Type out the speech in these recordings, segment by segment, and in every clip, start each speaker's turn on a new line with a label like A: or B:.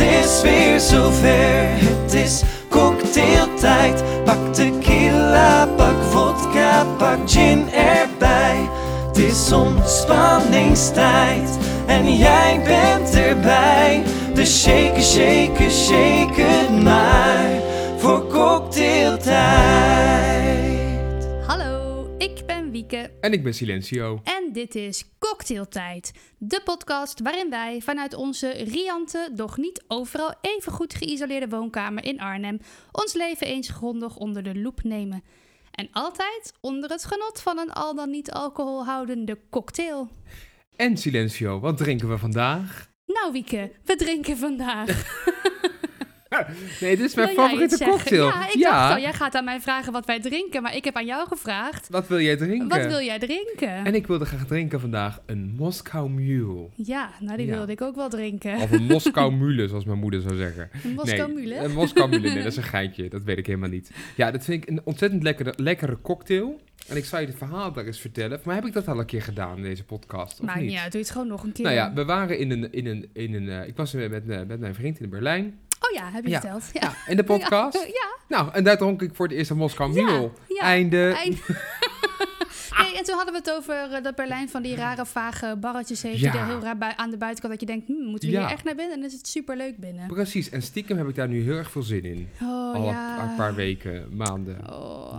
A: is weer zover. Het is cocktailtijd. Pak tequila, pak vodka, pak gin erbij. Het is ontspanningstijd en jij bent erbij. Dus shake, shake, shake het maar voor cocktailtijd.
B: Hallo, ik ben Wieke
C: En ik ben Silencio.
B: en dit is Cocktailtijd, de podcast waarin wij vanuit onze riante, doch niet overal even goed geïsoleerde woonkamer in Arnhem ons leven eens grondig onder de loep nemen. En altijd onder het genot van een al dan niet alcoholhoudende cocktail.
C: En Silencio, wat drinken we vandaag?
B: Nou Wieke, we drinken vandaag.
C: Nee, dit is mijn
B: Wil jij
C: favoriete
B: iets zeggen?
C: cocktail.
B: Ja, ik dacht al, jij gaat aan mij vragen wat wij drinken, maar ik heb aan jou gevraagd,
C: Wat wil jij drinken?
B: wat wil jij drinken?
C: En ik wilde graag drinken vandaag een Moskou Mule.
B: Ja, nou die
C: Ja.
B: wilde ik ook wel drinken.
C: Of een Moskou Mule, zoals mijn moeder zou zeggen.
B: Een Moskou
C: Oh, nee,
B: Mule?
C: Een Moskou Mule, nee, dat is een geintje. Dat weet ik helemaal niet. Ja, dat vind ik een ontzettend lekkere, lekkere cocktail. En ik zou je het verhaal daar eens vertellen. Maar heb ik dat al een keer gedaan in deze podcast? Of
B: Maakt
C: niet?
B: niet uit, doe het gewoon nog een keer.
C: Nou ja, we waren in een... In een, in een eh, ik was met, met, eh, met mijn vriend in Berlijn.
B: Oh ja, heb je
C: Ja.
B: verteld. Ja.
C: Ja, in de podcast.
B: Ja, ja.
C: Nou, en daar dronk ik voor het eerst een Moskou Mule.
B: ja.
C: Einde.
B: Eind- nee, en toen hadden we het over eh, dat Berlijn van die rare vage barretjes heeft.
C: Ja.
B: Die er heel raar bui- aan de buitenkant. Dat je denkt, hmm, moeten we
C: Ja.
B: hier echt naar binnen? En dan is het superleuk binnen.
C: Precies, en stiekem heb ik daar nu heel erg veel zin in.
B: Oh
C: Al een, een
B: ja.
C: paar weken, maanden,
B: Oh,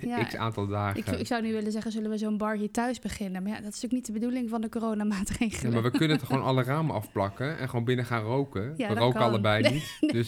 B: ja.
C: x aantal
B: Ik,
C: dagen.
B: ik zou nu willen zeggen, zullen we zo'n bar hier thuis beginnen? Maar ja, dat is natuurlijk niet de bedoeling van de
C: Ja,
B: coronamaatregelen.
C: maar we kunnen het gewoon alle ramen afplakken en gewoon binnen gaan roken.
B: Ja,
C: we
B: dat
C: roken
B: kan.
C: allebei
B: Nee,
C: niet,
B: Nee.
C: dus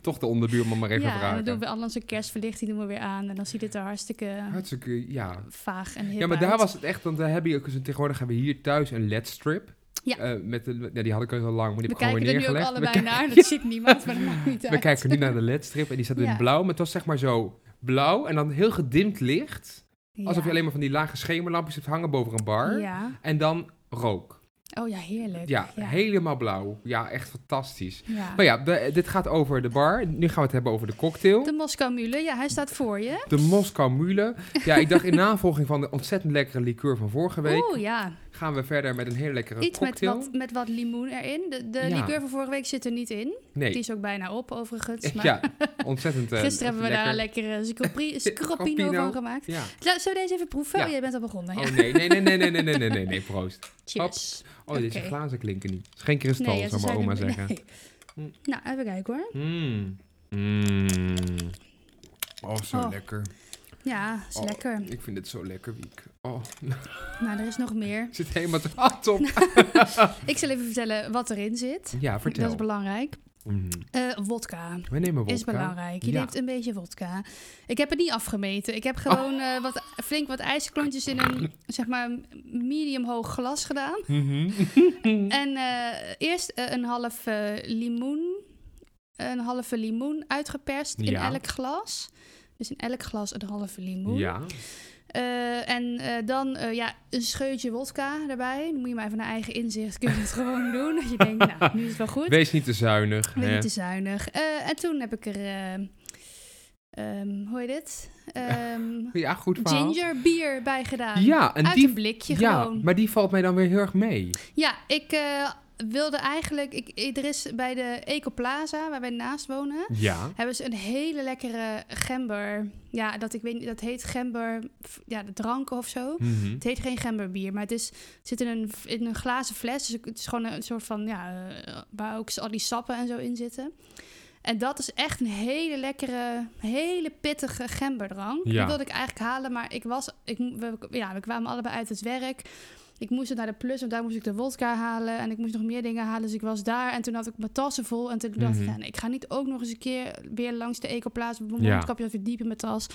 C: toch de onderbuurman maar even
B: ja, en
C: vragen.
B: dan doen we anders een kerstverlichting doen we weer aan. En dan ziet het er hartstikke
C: Hartstikke, ja.
B: vaag en hip
C: Ja, maar daar
B: uit.
C: was het echt, want we hebben hier ook, eens- tegenwoordig hebben we hier thuis een ledstrip.
B: Ja.
C: Eh, met de, ja, die had ik al zo lang, maar die
B: We
C: heb ik gewoon
B: kijken
C: weer
B: er nu ook
C: neergelegd.
B: allebei naar. Dat ziet niemand, maar dat maakt niet uit.
C: We kijken nu naar de ledstrip en die staat in
B: Ja.
C: blauw. Maar het was zeg maar zo blauw en dan heel gedimd licht. Alsof je alleen maar van die lage schemerlampjes hebt hangen boven een bar.
B: Ja.
C: En dan rook.
B: Oh ja, heerlijk.
C: Ja,
B: ja.
C: helemaal blauw. Ja, echt fantastisch.
B: Ja.
C: Maar ja, de- dit gaat over de bar. Nu gaan we het hebben over de cocktail.
B: De Moskou Mule, ja, hij staat voor je.
C: De Moskou Mule. Ja, ik dacht in navolging van de ontzettend lekkere liqueur van vorige week...
B: Oeh, ja.
C: gaan we verder met een hele lekkere
B: Iets met
C: cocktail.
B: wat, met wat limoen erin. De, de
C: Ja.
B: liqueur van vorige week zit er niet in.
C: Nee,
B: Die is ook bijna op, overigens. Maar
C: ja, ontzettend eh,
B: gisteren hebben we daar een
C: lekker.
B: lekkere scropi- scroppino van
C: Scroppino.
B: gemaakt.
C: Ja.
B: Zou- Zullen we deze even proeven?
C: Ja.
B: Oh, jij bent al begonnen. Ja.
C: Oh nee, nee, nee, nee, nee, nee, nee, nee, nee, nee, proost.
B: Cheers.
C: Oh, deze
B: Oké.
C: glazen klinken niet. Het is geen kristal,
B: ja, ze
C: zou mijn
B: zijn
C: oma
B: er-
C: zeggen.
B: nee.
C: Mm.
B: Nou, even kijken hoor.
C: Mm. Mm. Oh, zo
B: Oh.
C: lekker.
B: Ja, is
C: Oh.
B: lekker.
C: Ik vind het zo lekker, Wiek. Oh,
B: Nou, er is nog meer.
C: ik zit helemaal te... Ah, top.
B: Nou, Ik zal even vertellen wat erin zit.
C: Ja, vertel.
B: Dat is belangrijk.
C: Mm.
B: Eh wodka.
C: We nemen wodka.
B: Is belangrijk. Je
C: Ja. Oh.
B: neemt een beetje wodka. Ik heb het niet afgemeten. Ik heb gewoon eh, wat, flink wat ijsklontjes in een zeg maar medium hoog glas gedaan.
C: Mhm.
B: En eh, eerst eh, een half eh, limoen. Een halve limoen uitgeperst in
C: Ja.
B: elk glas. Dus in elk glas een halve limoen.
C: Ja.
B: Eh, en eh, dan eh, ja, een scheutje wodka erbij. Dan moet je maar even naar eigen inzicht. Kun je het gewoon doen. Dat je denkt, nou, nu is het wel goed.
C: Wees niet te zuinig.
B: Ik ben
C: hè.
B: niet te zuinig. Eh, en toen heb ik er, eh, ehm, hoe heet dit? Ehm,
C: Ja, goed verhaal.
B: ginger bier bij gedaan.
C: Ja, en
B: Uit
C: die...
B: een blikje
C: ja,
B: gewoon.
C: maar die valt mij dan weer heel erg mee.
B: Ja, ik eh, wilde eigenlijk... Ik, ik- er is bij de Ecoplaza, waar wij naast wonen...
C: Ja.
B: hebben ze een hele lekkere gember. Ja, dat, ik weet niet, dat heet gember... f- Ja, de dranken of zo.
C: Mhm.
B: Het heet geen gemberbier, maar het, is, het zit in een, in een glazen fles. Dus het is gewoon een soort van, ja, eh, waar ook al die sappen en zo in zitten. En dat is echt een hele lekkere, hele pittige gemberdrang.
C: Ja.
B: Die wilde ik eigenlijk halen, maar ik was, ik, mo- we, ja, we kwamen allebei uit het werk. Ik moest naar de plus, want daar moest ik de wodka halen. En ik moest nog meer dingen halen, dus ik was daar. En toen had ik mijn tassen vol. En toen dacht ik,
C: Mhm.
B: ja, nee, ik ga niet ook nog eens een keer weer langs de ecoplaats... met mijn
C: Ja.
B: mondkapje even diep in mijn tas.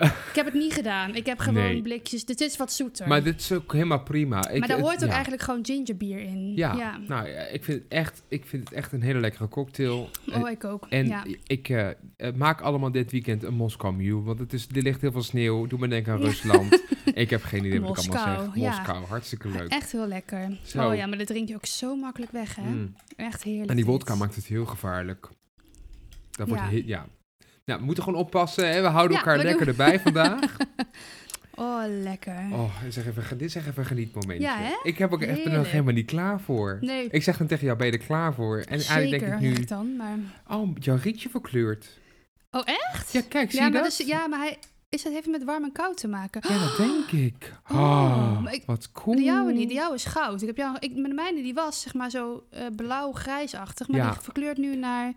B: ik heb het niet gedaan. Ik heb gewoon
C: Nee.
B: blikjes. Dit is wat zoeter.
C: Maar dit is ook helemaal prima. Ik,
B: maar daar
C: het-
B: hoort ook
C: ja.
B: eigenlijk gewoon gingerbier in.
C: Ja, nou ja, ik vind, het echt, ik vind het echt een hele lekkere cocktail. Eh,
B: Oh, ik ook.
C: En
B: ja.
C: ik eh, eh, maak allemaal dit weekend een Moskou Mule. Want het is, er ligt heel veel sneeuw. Doe me denken aan Rusland. ik heb geen idee wat ik allemaal
B: Moskou,
C: zeg.
B: ja.
C: Moskou, hartstikke leuk.
B: Echt heel lekker.
C: Zo.
B: Oh ja, maar dat drink je ook zo makkelijk weg, hè?
C: Mm.
B: Echt heerlijk.
C: En die
B: dit.
C: wodka maakt het heel gevaarlijk. Dat wordt
B: Ja.
C: heel- ja. Nou, we moeten gewoon oppassen. Hè? We houden
B: Ja,
C: elkaar
B: we
C: lekker
B: doen-
C: erbij vandaag.
B: Oh, lekker.
C: Oh, zeg even, ge- dit is echt even een genietmomentje.
B: Ja, hè?
C: Ik heb ook echt, ben er
B: Heerlijk.
C: nog helemaal niet klaar voor.
B: Nee,
C: Ik zeg dan tegen jou, ben je er klaar voor? En
B: zeker
C: eigenlijk denk ik
B: zeg
C: nu,
B: ik dan. Maar...
C: oh, jouw rietje verkleurt.
B: Oh, echt?
C: Ja, kijk, zie
B: Ja,
C: je
B: maar,
C: dat?
B: dus, ja, maar hij, is dat heeft met warm en koud te maken?
C: Ja, dat denk ik.
B: Oh,
C: Oh,
B: maar ik-
C: wat cool.
B: De jouwe niet, de jouwe is goud. Ik heb jou, ik, mijn mijne die was zeg maar zo eh, blauw-grijsachtig, maar
C: Ja.
B: die verkleurt nu naar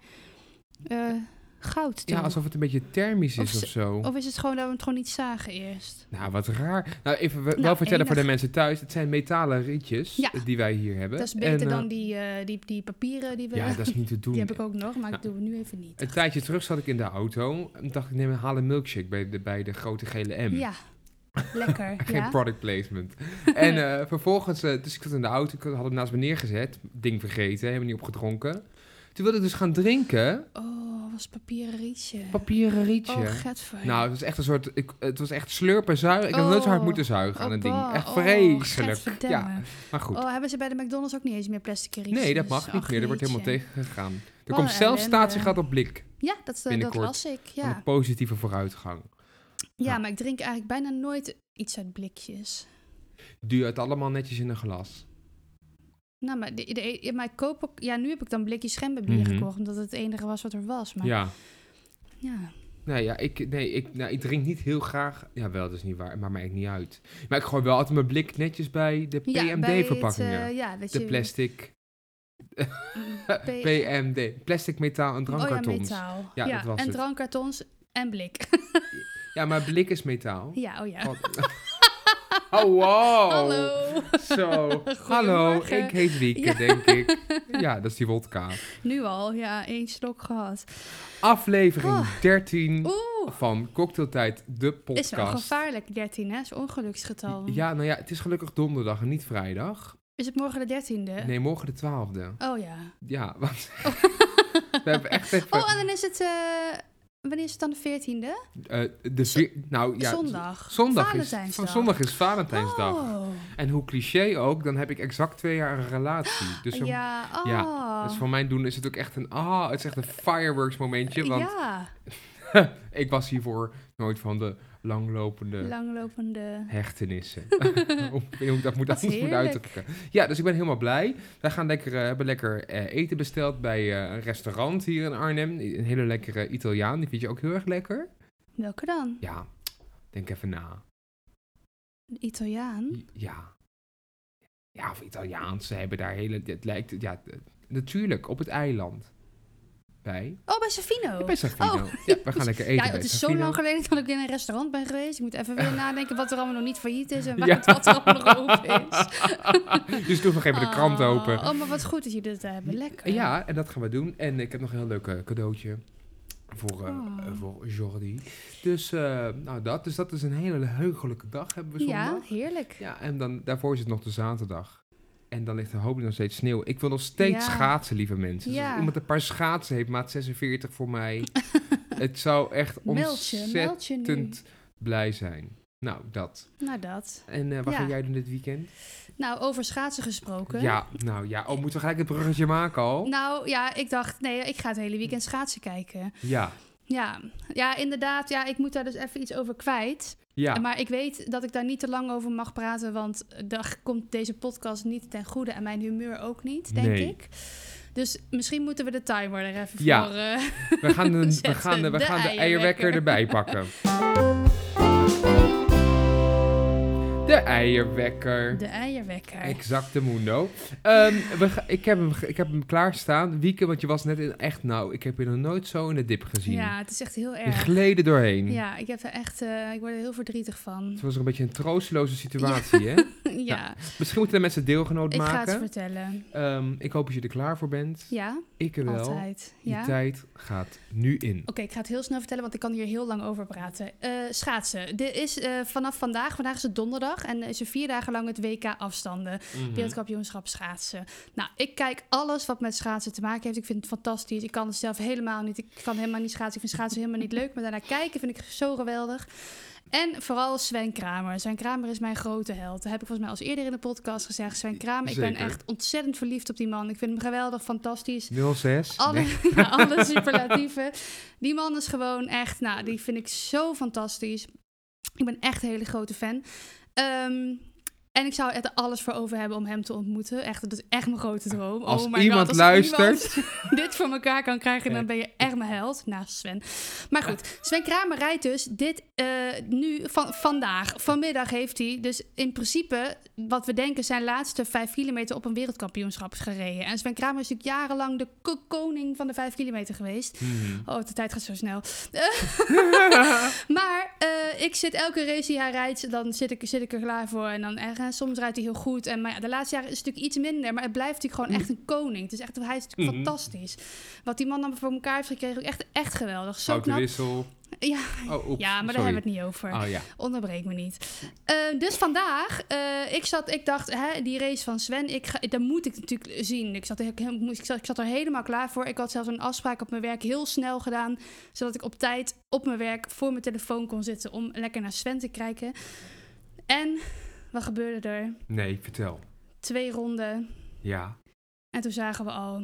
B: eh, goud toe.
C: Ja, alsof het een beetje thermisch
B: Of
C: is
B: ze-
C: of zo.
B: Of is het gewoon dat we het gewoon niet zagen eerst?
C: Nou, wat raar. Nou, even wel
B: Nou,
C: vertellen voor de
B: enig.
C: mensen thuis. Het zijn metalen rietjes
B: Ja.
C: die wij hier hebben.
B: Dat is beter
C: En, eh,
B: dan die, eh, die, die papieren die we...
C: Ja, dat is niet te doen.
B: die heb ik ook nog, maar
C: Ja.
B: ik doe het nu even niet.
C: Een tijdje terug zat ik in de auto en dacht ik, neem een haal een milkshake bij de, bij de grote gele M.
B: Ja, lekker.
C: Geen
B: ja.
C: product placement. en eh, vervolgens, eh, dus ik zat in de auto, ik had hem naast me neergezet. Ding vergeten, helemaal niet opgedronken. Toen wilde ik dus gaan drinken.
B: Oh, was papieren rietje.
C: Papieren rietje.
B: Oh, getver.
C: nou, het was echt een soort, ik, het was echt slurpen zuigen. Ik had nooit zo hard
B: Oh.
C: moeten zuigen aan
B: Oh,
C: het ding.
B: bah.
C: Echt
B: Oh,
C: vreselijk.
B: gadverdamme.
C: ja, maar goed.
B: Oh, hebben ze bij de McDonald's ook niet eens meer plastic rietjes?
C: Nee, dat mag niet
B: Ach,
C: meer. Er wordt
B: jeetje.
C: helemaal tegengegaan. Er
B: Wat
C: komt
B: een
C: zelfs
B: Oh, ellende.
C: statiegeld op blik
B: Ja, dat, eh, dat
C: Binnenkort.
B: las ik.
C: van
B: Ja.
C: een positieve vooruitgang.
B: ja,
C: Ja.
B: maar ik drink eigenlijk bijna nooit iets uit blikjes.
C: Duw het allemaal netjes in een glas.
B: Nou, maar, de, de- ja, maar ik koop ook... Ja, nu heb ik dan blikjes schemberbier
C: Mhm.
B: gekocht, omdat het het enige was wat er was. Maar ja,
C: Ja. Nee, ja, ik, nee ik, nou, ik drink niet heel graag. Ja, wel, dat is niet waar. Het maakt mij eigenlijk niet uit. Maar ik gooi wel altijd mijn blik netjes bij de
B: Ja, bij het,
C: PMD-verpakkingen.
B: eh, ja, dat
C: de
B: je-
C: plastic.
B: P-
C: PMD. Plastic, metaal en
B: Oh ja,
C: drankkartons. ja,
B: metaal.
C: Ja, dat was
B: en
C: het.
B: drankkartons en blik.
C: maar blik is metaal.
B: ja, oh ja.
C: Wat- Oh, wow.
B: Hallo.
C: Zo. Hallo,
B: Goedemorgen.
C: ik heet Wieke,
B: Ja.
C: denk ik. Ja, dat is die wodka.
B: Nu al, ja, één slok gehad.
C: Aflevering
B: Oh.
C: 13
B: Oeh,
C: van Cocktailtijd, de
B: is wel
C: podcast.
B: gevaarlijk, 13 hè, is een ongeluksgetal.
C: Ja, nou ja, het is gelukkig donderdag en niet vrijdag.
B: Is het morgen de 13e?
C: Nee, morgen de 12e.
B: Oh ja.
C: Ja, want we hebben echt even...
B: Oh, en dan is het, eh, wanneer is het dan de 14e?
C: eh, de
B: zo-
C: vier- nou, ja,
B: zondag.
C: zondag is,
B: Valentijnsdag.
C: van zondag is Valentijnsdag.
B: Oh,
C: En hoe cliché ook, dan heb ik exact twee jaar een relatie. Dus, zo-
B: ja. Oh.
C: ja, dus voor mijn doen is het ook echt een... Ah, het is echt een fireworks momentje. Want
B: Ja,
C: ik was hiervoor nooit van de langlopende...
B: langlopende...
C: hechtenissen. Of ik weet niet hoe ik dat moet,
B: Wat
C: anders moet
B: heerlijk.
C: uitdrukken. Ja, dus ik ben helemaal blij. Wij gaan lekker, eh, hebben lekker eh, eten besteld bij eh, een restaurant hier in Arnhem. Een hele lekkere Italiaan, die vind je ook heel erg lekker.
B: Welke dan?
C: Ja, denk even na.
B: Een Italiaan?
C: Ja. Ja, of Italiaans. Ze hebben daar hele... Het lijkt... Ja, eh, natuurlijk, op het eiland. Bij...
B: Oh, bij Savino.
C: Bij Safino.
B: Oh.
C: Ja, we gaan lekker eten
B: Ja,
C: bij
B: het is zo
C: Safino.
B: lang geleden dat ik in een restaurant ben geweest. Ik moet even weer nadenken wat er allemaal nog niet failliet is en waar
C: Ja.
B: het wat er allemaal nog open is.
C: dus doe nog even de krant
B: Oh,
C: open.
B: Oh, maar wat goed dat jullie dit hebben. Lekker.
C: Ja, en dat gaan we doen. En ik heb nog een heel leuk eh, cadeautje voor, eh,
B: Oh.
C: eh, voor Jordi. Dus, eh, nou dat, dus dat is een hele heugelijke dag hebben we zondag.
B: Ja,
C: Ja,
B: heerlijk.
C: en dan, daarvoor is het nog de zaterdag. En dan ligt er hopelijk nog steeds sneeuw. Ik wil nog steeds
B: Ja.
C: schaatsen, lieve mensen. Dus
B: Ja.
C: als iemand een paar schaatsen heeft, maat 46 voor mij. het zou echt
B: Meld je,
C: ontzettend
B: meld je nu.
C: blij zijn. Nou, dat.
B: Nou, dat.
C: En eh, wat
B: Ja.
C: ga jij doen dit weekend?
B: Nou, over schaatsen gesproken.
C: Ja, nou ja. Oh, moeten we gelijk het bruggetje maken al?
B: Nou ja, ik dacht, nee, ik ga het hele weekend schaatsen kijken.
C: Ja.
B: Ja, ja inderdaad. Ja, ik moet daar dus even iets over kwijt.
C: Ja.
B: Maar ik weet dat ik daar niet te lang over mag praten, want eh, daar komt deze podcast niet ten goede en mijn humeur ook niet, denk
C: Nee.
B: ik. Dus misschien moeten we de timer er even
C: Ja.
B: voor... eh,
C: We gaan de, we
B: Zetten
C: gaan de, we
B: de
C: gaan de
B: eierwekker.
C: eierwekker erbij pakken. De eierwekker.
B: de eierwekker.
C: Exacte mundo. Ehm, we ga- ik, heb hem, ge- ik heb hem klaarstaan. Wieke, want je was net in, echt nou, ik heb je nog nooit zo in de dip gezien.
B: Ja, het is echt heel
C: je
B: erg.
C: gleden doorheen.
B: Ja, ik, heb er echt, eh, ik word er heel verdrietig van.
C: Het was een beetje een troosteloze situatie, hè?
B: ja,
C: Misschien moeten de mensen deelgenoot
B: ik ga het
C: maken.
B: vertellen.
C: Ehm, ik hoop dat je er klaar voor bent.
B: Ja,
C: Ik er wel.
B: altijd.
C: Die
B: Ja.
C: tijd gaat nu in.
B: Oké, ik ga het heel snel vertellen, want ik kan hier heel lang over praten. Eh, schaatsen. Dit is eh, vanaf vandaag, vandaag is het donderdag en is er vier dagen lang het WK afstanden.
C: Mhm.
B: Wereldkampioenschap schaatsen. Nou, ik kijk alles wat met schaatsen te maken heeft. Ik vind het fantastisch. Ik kan het zelf helemaal niet. Ik kan helemaal niet schaatsen. Ik vind schaatsen helemaal niet leuk. Maar daarna kijken vind ik zo geweldig. En vooral Sven Kramer. Sven Kramer is mijn grote held. Dat heb ik volgens mij als eerder in de podcast gezegd. Sven Kramer, ik ben
C: Zeker.
B: echt ontzettend verliefd op die man. Ik vind hem geweldig, fantastisch.
C: 06.
B: Alle,
C: Nee.
B: ja, alle superlatieven. Die man is gewoon echt, nou, die vind ik zo fantastisch. Ik ben echt een hele grote fan. Ehm, en ik zou er alles voor over hebben om hem te ontmoeten. Echt, dat is echt mijn grote droom.
C: Als
B: oh my
C: iemand
B: God, als
C: luistert.
B: iemand dit voor elkaar kan krijgen, dan
C: Ja.
B: ben je echt mijn held. Naast Sven. Maar goed, Sven Kramer rijdt dus dit eh, nu van, vandaag. Vanmiddag heeft hij dus in principe, wat we denken, zijn laatste vijf kilometer op een wereldkampioenschap is gereden. En Sven Kramer is natuurlijk jarenlang de ko- koning van de vijf kilometer geweest. Oh, de tijd gaat zo snel. maar eh, ik zit elke race die hij rijdt, dan zit ik, zit ik er klaar voor. En dan eh, soms rijdt hij heel goed. En, maar ja, de laatste jaren is het natuurlijk iets minder. Maar het blijft natuurlijk gewoon echt een koning. Het is echt, hij is natuurlijk
C: Mhm.
B: fantastisch. Wat die man dan voor elkaar heeft gekregen, ook echt, echt geweldig. Zo
C: Foute
B: knap.
C: wissel.
B: Ja,
C: Oh, oeps,
B: ja, maar daar
C: sorry.
B: hebben we het niet over.
C: Oh ja.
B: Onderbreek me niet. Eh, dus vandaag, eh, ik, zat, ik dacht, hè, die race van Sven, ik ga, dat moet ik natuurlijk zien. Ik zat, er- ik, moest- ik, zat, ik zat er helemaal klaar voor. Ik had zelfs een afspraak op mijn werk heel snel gedaan, zodat ik op tijd op mijn werk voor mijn telefoon kon zitten om lekker naar Sven te kijken. En wat gebeurde er?
C: Nee, vertel.
B: Twee ronden
C: Ja,
B: en toen zagen we al,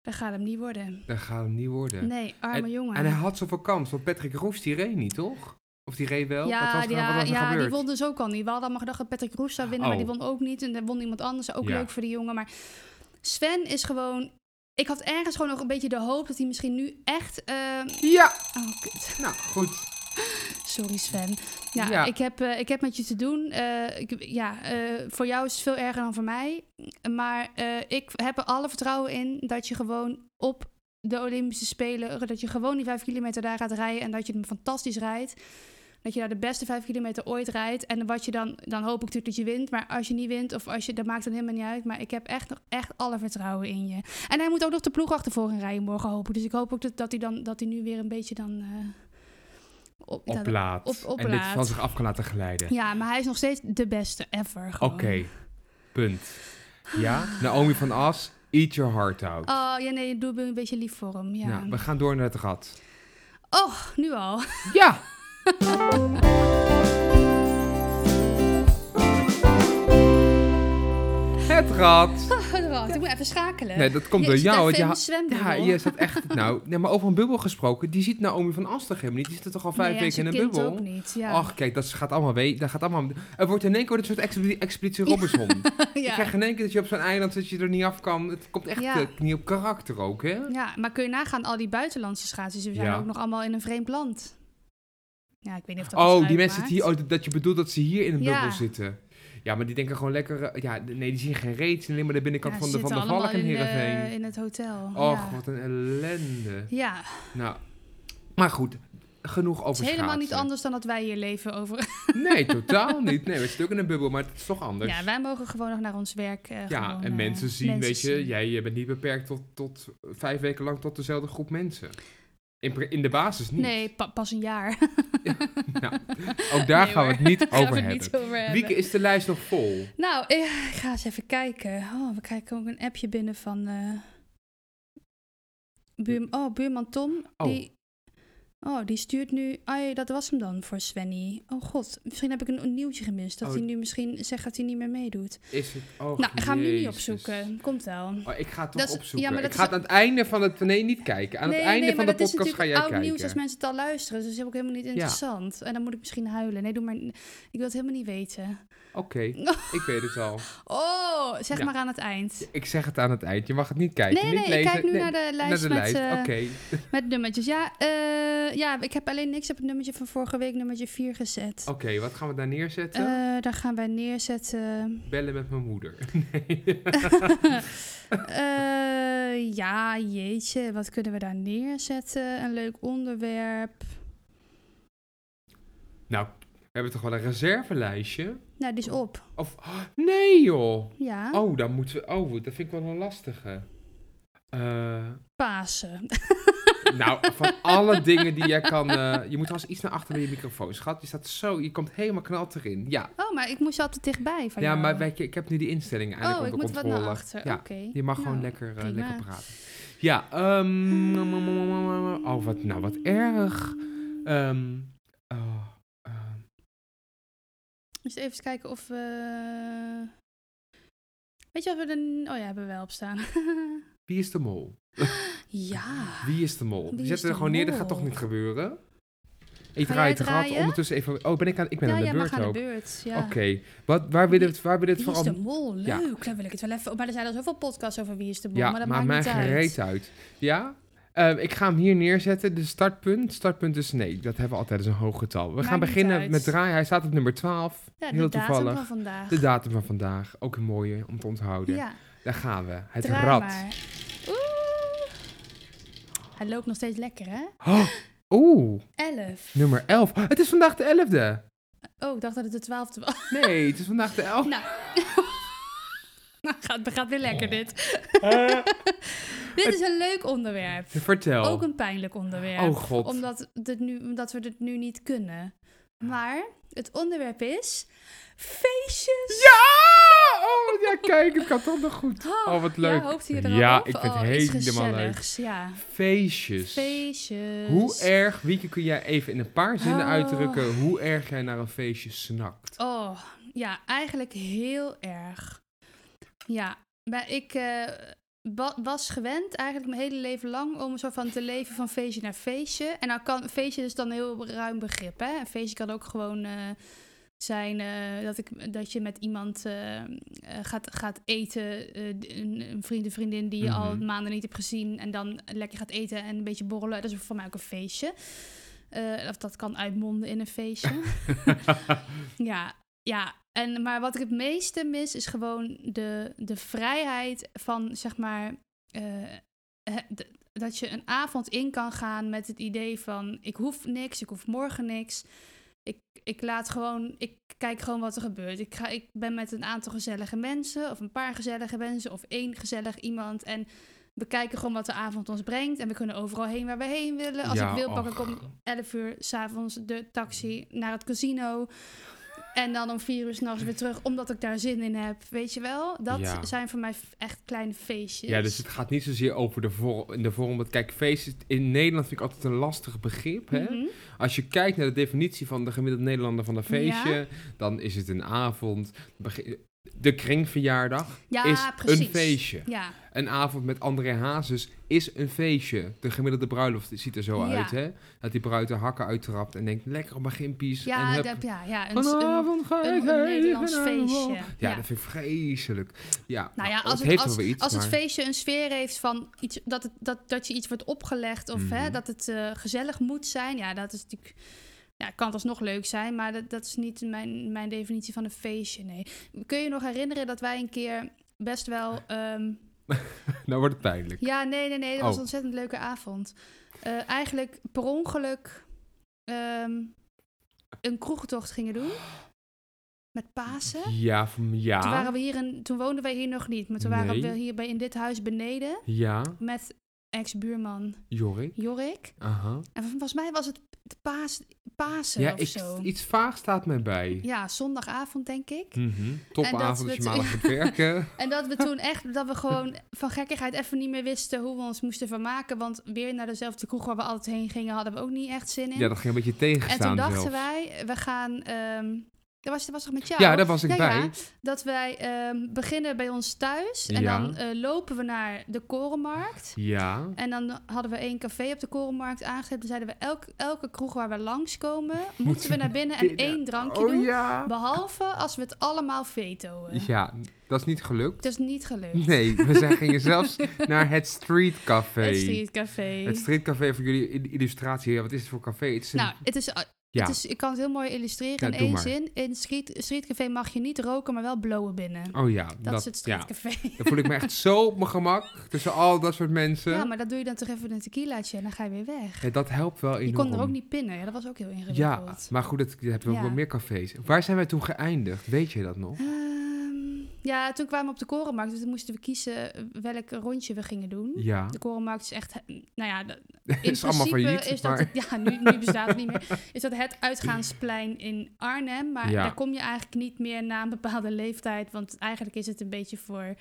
B: dat gaat hem niet worden.
C: dat gaat hem niet worden.
B: Nee, arme jongen.
C: En hij had zoveel kans, want Patrick Roefs die reed niet, toch? Of die reed wel? wat
B: Ja,
C: was er,
B: die-
C: nou- wat
B: ja,
C: was er
B: ja die
C: gebeurd?
B: won dus ook al niet. We hadden allemaal gedacht dat Patrick Roes zou winnen, maar
C: Oh.
B: die won ook niet. En dan won iemand anders, ook
C: Ja.
B: leuk voor die jongen. Maar Sven is gewoon... Ik had ergens gewoon nog een beetje de hoop dat hij misschien nu echt... eh,
C: Ja,
B: Oh, kut.
C: nou goed.
B: Sorry Sven. Ja,
C: Ja.
B: Ik, heb, eh, ik heb met je te doen. Eh, ik, ja, eh, voor jou is het veel erger dan voor mij. Maar eh, ik heb er alle vertrouwen in dat je gewoon op de Olympische Spelen... dat je gewoon die vijf kilometer daar gaat rijden en dat je hem fantastisch rijdt. Dat je daar de beste vijf kilometer ooit rijdt. En wat je dan... Dan hoop ik natuurlijk dat je wint. Maar als je niet wint of als je... Dat maakt dan helemaal niet uit. Maar ik heb echt nog echt alle vertrouwen in je. En hij moet ook nog de ploeg achtervolgen rijden morgen hopen. Dus ik hoop ook dat, dat hij dan... Dat hij nu weer een beetje dan... eh, op, dat-
C: Oplaat.
B: op-
C: en dit
B: oplaat.
C: van zich af kan laten glijden.
B: ja, maar hij is nog steeds de beste ever.
C: Oké,
B: gewoon.
C: punt. Ja, Naomi van As, eat your heart out.
B: Oh, ja, nee, doe me een beetje lief voor hem. Oh, Ja.
C: Nou, we gaan door naar het gat.
B: Oh, nu al.
C: Ja! het gat.
B: Ik moet even schakelen.
C: Nee, dat komt
B: Eh, Je zit
C: door
B: even
C: jou. Want je
B: in
C: ha-
B: de zwembubbel.
C: ja, je zat echt... Nou, nee, maar over een bubbel gesproken. Die ziet Naomi van As toch helemaal niet? Die zit er toch al vijf
B: Nee, en
C: weken in
B: zijn
C: een
B: kind
C: bubbel?
B: ook niet. Ja.
C: Ach, kijk, dat gaat allemaal wee. Dat gaat allemaal... Er wordt in één keer een soort expedi- expeditie Robinson. Je
B: ja.
C: krijgt in één keer dat je op zo'n eiland zit, dat je er niet af kan. Het komt echt
B: Ja.
C: eh, niet op karakter ook, hè?
B: ja, maar kun je nagaan, al die buitenlandse schaatsers, die zijn
C: Ja.
B: ook nog allemaal in een vreemd land. Ja, ik weet niet of dat iets
C: Oh, die
B: uitmaakt.
C: mensen die... Oh, dat- dat je bedoelt dat ze hier in een
B: Ja.
C: bubbel zitten. Ja, maar die denken gewoon lekker... eh, Ja, nee, die zien geen reet. Ze zien alleen maar de binnenkant
B: Ja,
C: van de
B: zitten
C: Van der
B: allemaal
C: Valk en
B: in de-
C: Heerenveen.
B: in het hotel.
C: Och,
B: ja.
C: wat een ellende.
B: Ja, het
C: Nou, maar goed. Genoeg
B: is
C: over
B: helemaal niet
C: schaatsen.
B: anders dan dat wij hier leven over.
C: Nee, totaal niet. Nee, we zitten ook in een bubbel, maar het is toch anders.
B: Ja, wij mogen gewoon nog naar ons werk. eh,
C: Ja,
B: gewoon,
C: en
B: eh,
C: mensen zien, weet je,
B: zien.
C: jij eh, bent niet beperkt tot, tot vijf weken lang tot dezelfde groep mensen. In, pri- in de basis niet.
B: Nee, pa- pas een jaar.
C: Nou, ook daar
B: Nee,
C: gaan we het
B: hoor.
C: niet
B: Gaan we
C: over
B: het
C: hebben.
B: niet over hebben.
C: Wieke, is de lijst nog vol?
B: Nou, ik ik ga eens even kijken. Oh, we krijgen ook een appje binnen van eh, buur- oh, buurman Tom.
C: Hm. Oh.
B: Die, oh, die stuurt nu... Ai, dat was hem dan voor Svenny. Oh god, misschien heb ik een, een nieuwtje gemist. Dat
C: Oh.
B: hij nu misschien zegt dat hij niet meer meedoet.
C: Is het... Oh,
B: nou, ik ga hem nu niet
C: jezus.
B: opzoeken. Komt wel.
C: Oh, ik ga het toch
B: Dat is-
C: opzoeken.
B: ja, maar dat
C: ik ga
B: is-
C: het aan het einde van het... Nee, niet kijken. Aan het einde van de
B: maar dat is
C: podcast ga
B: natuurlijk
C: jij
B: oud
C: kijken.
B: nieuws als mensen het al luisteren. Dus dat is ook helemaal niet interessant. En dan moet ik misschien huilen. Nee, doe maar... Ik wil het helemaal niet weten.
C: Oké, ik weet het al.
B: Oh, zeg
C: Ja.
B: maar aan het eind.
C: Ik zeg het aan het eind. Je mag het niet kijken.
B: Nee, nee,
C: niet
B: nee,
C: lezen.
B: ik kijk nu
C: Nee,
B: naar de
C: naar
B: lijst
C: de
B: met...
C: lijst.
B: eh,
C: Oké.
B: Met nummertjes, ja. eh, ja, ik heb alleen niks op het nummertje van vorige week, nummertje 4 gezet.
C: Oké, wat gaan we daar neerzetten?
B: Eh, daar gaan wij neerzetten.
C: Bellen met mijn moeder.
B: Eh, ja, jeetje, wat kunnen we daar neerzetten? Een leuk onderwerp.
C: nou, we hebben toch wel een reservelijstje?
B: Nou, die is op.
C: Of... Nee, joh.
B: Ja,
C: Oh, dan moeten we. Oh, dat vind ik wel een lastige. Eh,
B: Pasen.
C: nou, van alle dingen die jij kan. eh, je moet wel eens iets naar achter bij je microfoon. Schat, je staat zo. Je komt helemaal knalt erin. Ja,
B: Oh, maar ik moest altijd dichtbij van
C: ja
B: jou.
C: maar weet je, ik heb nu die instellingen eindelijk
B: Oh, ik
C: onder
B: moet wat
C: controle.
B: naar achter.
C: Ja,
B: Oké.
C: je mag gewoon
B: Nou,
C: lekker, eh,
B: prima.
C: lekker praten. Ja, ehm. oh, wat, nou, wat erg. Ehm, oh, ehm,
B: Dus even eens kijken of we... Weet je wat we er... Oh ja, hebben we wel op staan.
C: wie is de mol?
B: ja.
C: Wie is de mol?
B: Wie
C: Die
B: is
C: zetten
B: de
C: er gewoon neer, dat gaat
B: mol?
C: toch niet gebeuren? Ik
B: Ga
C: draai
B: jij
C: het rad
B: draaien?
C: ondertussen even... Oh, ben ik aan... Ik ben
B: ja,
C: aan de
B: jij
C: beurt
B: mag aan
C: ook.
B: de beurt. Ja.
C: Oké, Wat- waar wil je het, waar wil je het
B: Wie is
C: vooral...
B: de mol? Leuk,
C: Ja.
B: daar wil ik het wel even... Maar er zijn al zoveel podcasts over Wie is de mol,
C: Ja,
B: maar dat
C: maakt mij
B: maakt niet uit.
C: gereed uit. Ja? Ehm, ik ga hem hier neerzetten, de startpunt. Startpunt is nee, dat hebben we altijd als een hoog getal. We
B: Maakt
C: gaan
B: niet
C: beginnen
B: uit.
C: met draaien. Hij staat op nummer 12.
B: Ja, de
C: Heel
B: datum
C: toevallig.
B: van vandaag.
C: De datum van vandaag, ook een mooie om te onthouden.
B: ja,
C: Daar gaan we. Het
B: draai
C: rad.
B: maar. Oeh. Hij loopt nog steeds lekker, hè?
C: Oh, Oeh,
B: 11.
C: nummer 11. Het is vandaag de 11e.
B: Oh, ik dacht dat het de twaalfde was.
C: Nee, het is vandaag de 11e.
B: Nou. nou, gaat, gaat weer lekker
C: Oh.
B: dit. dit is een leuk onderwerp.
C: Vertel.
B: Ook een pijnlijk onderwerp.
C: Oh god.
B: Omdat, dit nu, omdat we dit nu niet kunnen.
C: Ah.
B: Maar het onderwerp is... Feestjes!
C: Ja! Oh, ja, kijk, het kan toch nog goed. Oh, wat leuk.
B: Ja, hoopt hij er dan
C: Ja,
B: op?
C: ik vind
B: oh,
C: het
B: iets
C: helemaal leuk.
B: gezelligs, Ja.
C: Feestjes.
B: Feestjes.
C: Hoe erg, Wieke, kun jij even in een paar zinnen
B: Oh.
C: uitdrukken hoe erg jij naar een feestje snakt?
B: Oh, ja, eigenlijk heel erg. Ja, maar ik eh, wa- was gewend eigenlijk mijn hele leven lang om zo van te leven van feestje naar feestje. En dan kan feestje is dan een heel ruim begrip, hè? Een feestje kan ook gewoon eh, zijn eh, dat, ik, dat je met iemand eh, eh, gaat, gaat eten, eh, een, een vriend, een vriendin die je al
C: Mhm.
B: maanden niet hebt gezien en dan lekker gaat eten en een beetje borrelen. Dat is voor mij ook een feestje. Eh, of dat kan uitmonden in een feestje. Ja, ja. En, maar wat ik het meeste mis is gewoon de, de vrijheid van, zeg maar, eh, eh, d- dat je een avond in kan gaan met het idee van, ik hoef niks, ik hoef morgen niks. Ik, ik laat gewoon, ik kijk gewoon wat er gebeurt. Ik, ga, ik ben met een aantal gezellige mensen, of een paar gezellige mensen, of één gezellig iemand. En we kijken gewoon wat de avond ons brengt. En we kunnen overal heen waar we heen willen. Als
C: Ja,
B: ik wil, pak
C: och.
B: ik om 11 uur s'avonds de taxi naar het casino. En dan om vier uur s'nachts weer terug, omdat ik daar zin in heb. Weet je wel? Dat
C: Ja.
B: zijn voor mij f- echt kleine feestjes.
C: Ja, dus het gaat niet zozeer over de vorm. In de vorm want kijk, feestjes in Nederland vind ik altijd een lastig begrip. Hè?
B: Mhm.
C: Als je kijkt naar de definitie van de gemiddelde Nederlander van een feestje,
B: Ja.
C: dan is het een avond. begi- De kringverjaardag
B: Ja,
C: is
B: precies.
C: een feestje.
B: Ja,
C: Een avond met André Hazes is een feestje. De gemiddelde bruiloft ziet er zo
B: Ja.
C: uit, hè? Dat die bruid haar hakken uittrapt en denkt, lekker op mijn gimpies. en ah,
B: ja,
C: hup,
B: dat, ja, ja. Een, een-
C: Vanavond ga
B: een-
C: ik
B: een Nederlands
C: even naar de
B: feestje.
C: wal. Ja,
B: Ja.
C: dat vind ik vreselijk. Ja,
B: nou ja,
C: maar
B: als
C: het
B: het,
C: heeft
B: als,
C: wel weer iets,
B: als het
C: maar-
B: feestje een sfeer heeft van iets, dat, het, dat, dat je iets wordt opgelegd of hè,
C: Mhm.
B: dat het eh, gezellig moet zijn. Ja, dat is natuurlijk. Ja, kan het alsnog leuk zijn, maar dat, dat is niet mijn, mijn definitie van een feestje. Nee. Kun je je nog herinneren dat wij een keer best wel ehm,
C: Nou wordt het pijnlijk.
B: Ja, nee, nee, nee. Dat was
C: Oh.
B: een ontzettend leuke avond. Eh, eigenlijk per ongeluk ehm, een kroegtocht gingen doen. Met Pasen.
C: Ja, van ja.
B: Toen, waren we hier in, toen woonden wij hier nog niet. Maar toen waren
C: Ah. Nee.
B: we hier bij, in dit huis beneden.
C: Ja,
B: Met ex-buurman
C: Jorik.
B: Jorik.
C: Aha.
B: En volgens mij was het de paas, Pasen
C: Ja,
B: of
C: ik-
B: zo.
C: iets vaag staat mij bij.
B: Ja, zondagavond denk ik.
C: Mhm.
B: En dat
C: Topavond
B: we
C: als je
B: het-
C: maandag gaat werken.
B: En dat we toen echt, dat we gewoon van gekkigheid even niet meer wisten hoe we ons moesten vermaken. Want weer naar dezelfde kroeg waar we altijd heen gingen, hadden we ook niet echt zin in.
C: Ja, dat ging een beetje
B: En
C: tegenstaan
B: toen dachten
C: zelfs.
B: wij, we gaan. ehm dat was, dat was toch met jou?
C: Ja, daar was ik
B: Ja,
C: bij.
B: ja. dat wij ehm, beginnen bij ons thuis. En
C: Ja.
B: dan eh, lopen we naar de Korenmarkt.
C: Ja.
B: En dan hadden we één café op de Korenmarkt aangezet. Toen zeiden we, elk, elke kroeg waar we langskomen... moeten we naar binnen en één drankje
C: oh,
B: doen.
C: ja.
B: Behalve als we het allemaal vetoen.
C: Ja, dat is niet gelukt.
B: Het is niet gelukt.
C: Nee, we zijn gingen zelfs naar het Street Café.
B: Het streetcafé.
C: Het Street Café voor jullie i- illustratie. Ja, wat is het voor café? Het is een-
B: Nou, het is,
C: ja.
B: het is, ik kan het heel mooi illustreren
C: Ja,
B: in
C: doe
B: één
C: maar.
B: zin. In het street, streetcafé mag je niet roken, maar wel blowen binnen.
C: oh ja.
B: dat, is het
C: ja.
B: streetcafé.
C: Dan voel ik me echt zo op mijn gemak tussen al dat soort mensen.
B: Ja, maar dat doe je dan toch even een tequilaatje en dan ga je weer weg.
C: Ja, dat helpt wel enorm.
B: Je kon er ook niet pinnen. Ja, dat was ook heel ingewikkeld.
C: Ja, maar goed, dat, dat hebben we ook
B: Ja. Hm?
C: wel meer cafés. Waar zijn wij toen geëindigd? Weet je dat nog?
B: Ehm, ja, toen kwamen we op de korenmarkt. Dus toen moesten we kiezen welk rondje we gingen doen.
C: Ja.
B: De korenmarkt is echt... Nou ja, dat- in
C: is allemaal
B: principe
C: failliet,
B: is dat...
C: maar-
B: het- ja, nu, nu bestaat het niet meer. Is dat het uitgaansplein in Arnhem. Maar
C: Ja.
B: daar kom je eigenlijk niet meer na een bepaalde leeftijd. Want eigenlijk is het een beetje voor...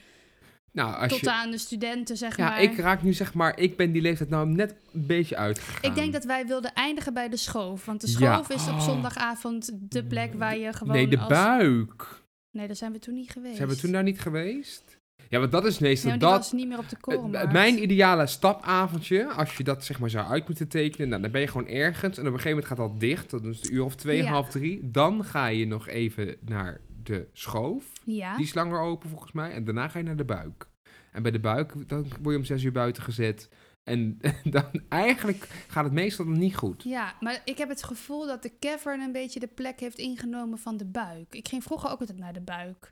C: Nou, als
B: tot
C: je...
B: aan de studenten, zeg
C: Ja,
B: maar.
C: ik raak nu zeg maar, ik ben die leeftijd nou net een beetje uitgegaan.
B: Ik denk dat wij wilden eindigen bij de schoof. Want de
C: Ja.
B: schoof is op
C: Oh.
B: zondagavond de plek waar je gewoon
C: Nee, de
B: als...
C: buik.
B: Nee, daar zijn we toen niet geweest.
C: Zijn we toen daar niet geweest? Ja, want dat is meestal
B: Nee, want die
C: dat.
B: was niet meer op de
C: Eh,
B: korenmarkt.
C: Mijn ideale stapavondje, als je dat zeg maar zou uit moeten tekenen, nou, dan ben je gewoon ergens en op een gegeven moment gaat dat dicht, dat is de uur of twee,
B: Ja.
C: half drie. Dan ga je nog even naar de schoof,
B: Ja.
C: die is langer open volgens mij, en daarna ga je naar de buik. En bij de buik, dan word je om zes uur buiten gezet. En dan eigenlijk gaat het meestal niet goed.
B: Ja, maar ik heb het gevoel dat de cavern een beetje de plek heeft ingenomen van de buik. Ik ging vroeger ook altijd naar de buik.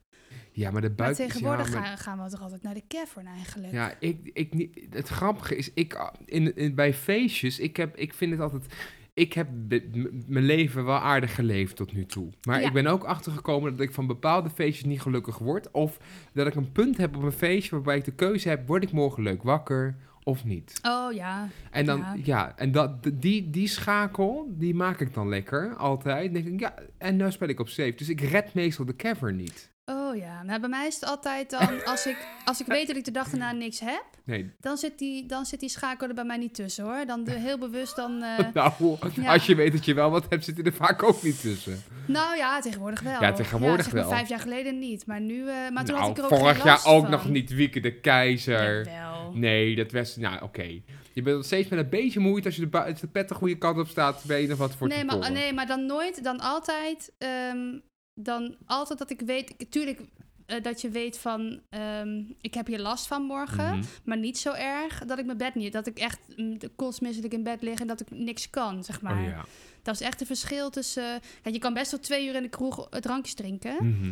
C: Ja, maar de
B: Maar
C: buik is-
B: tegenwoordig
C: ja, maar-
B: gaan, gaan we toch altijd naar de cavern eigenlijk.
C: Ja, ik, ik, niet- het grappige is, ik, ah, in, in- bij feestjes, ik, heb, ik vind het altijd... Ik heb de- m- mijn leven wel aardig geleefd tot nu toe. Maar
B: Ja.
C: ik ben ook achtergekomen dat ik van bepaalde feestjes niet gelukkig word. Of dat ik een punt heb op een feestje waarbij ik de keuze heb... word ik morgen leuk wakker of niet?
B: Oh ja,
C: En, dan,
B: Ja.
C: ja. en dat, d- die, die schakel, die maak ik dan lekker altijd. Dan denk ik, ja, en nu speel ik op safe. Dus ik red meestal de cavern niet.
B: oh ja. Nou, bij mij is het altijd dan, als ik, als ik weet dat ik de dag daarna niks heb,
C: Nee,
B: dan zit die, dan zit die schakel er bij mij niet tussen hoor. Dan de- heel bewust dan... eh,
C: nou,
B: ja.
C: als je weet dat je wel wat hebt, zit je er vaak ook niet tussen.
B: nou ja, tegenwoordig wel.
C: Ja, tegenwoordig
B: zeg maar
C: wel.
B: Vijf jaar geleden niet, maar nu... eh, maar toen
C: Nou,
B: had ik er ook
C: vorig
B: geen
C: jaar
B: last
C: ook
B: van.
C: nog niet Wieke de Keizer.
B: Jawel.
C: Nee, dat was... Nou, oké. Je bent nog steeds met een beetje moeite als je de, ba- als de pet de goede kant op staat. Ben je nog wat voor
B: nee,
C: te
B: maar,
C: porren.
B: nee, maar dan nooit, dan altijd, ehm, dan altijd dat ik weet, ik- tuurlijk eh, dat je weet van, ehm, ik heb hier last van morgen,
C: Mhm.
B: maar niet zo erg dat ik mijn bed niet, dat ik echt mm, de- kotsmisselijk in bed lig en dat ik niks kan, zeg maar.
C: Oh ja.
B: Dat is echt een verschil tussen, kijk, je kan best wel twee uur in de kroeg eh, drankjes drinken
C: Mhm.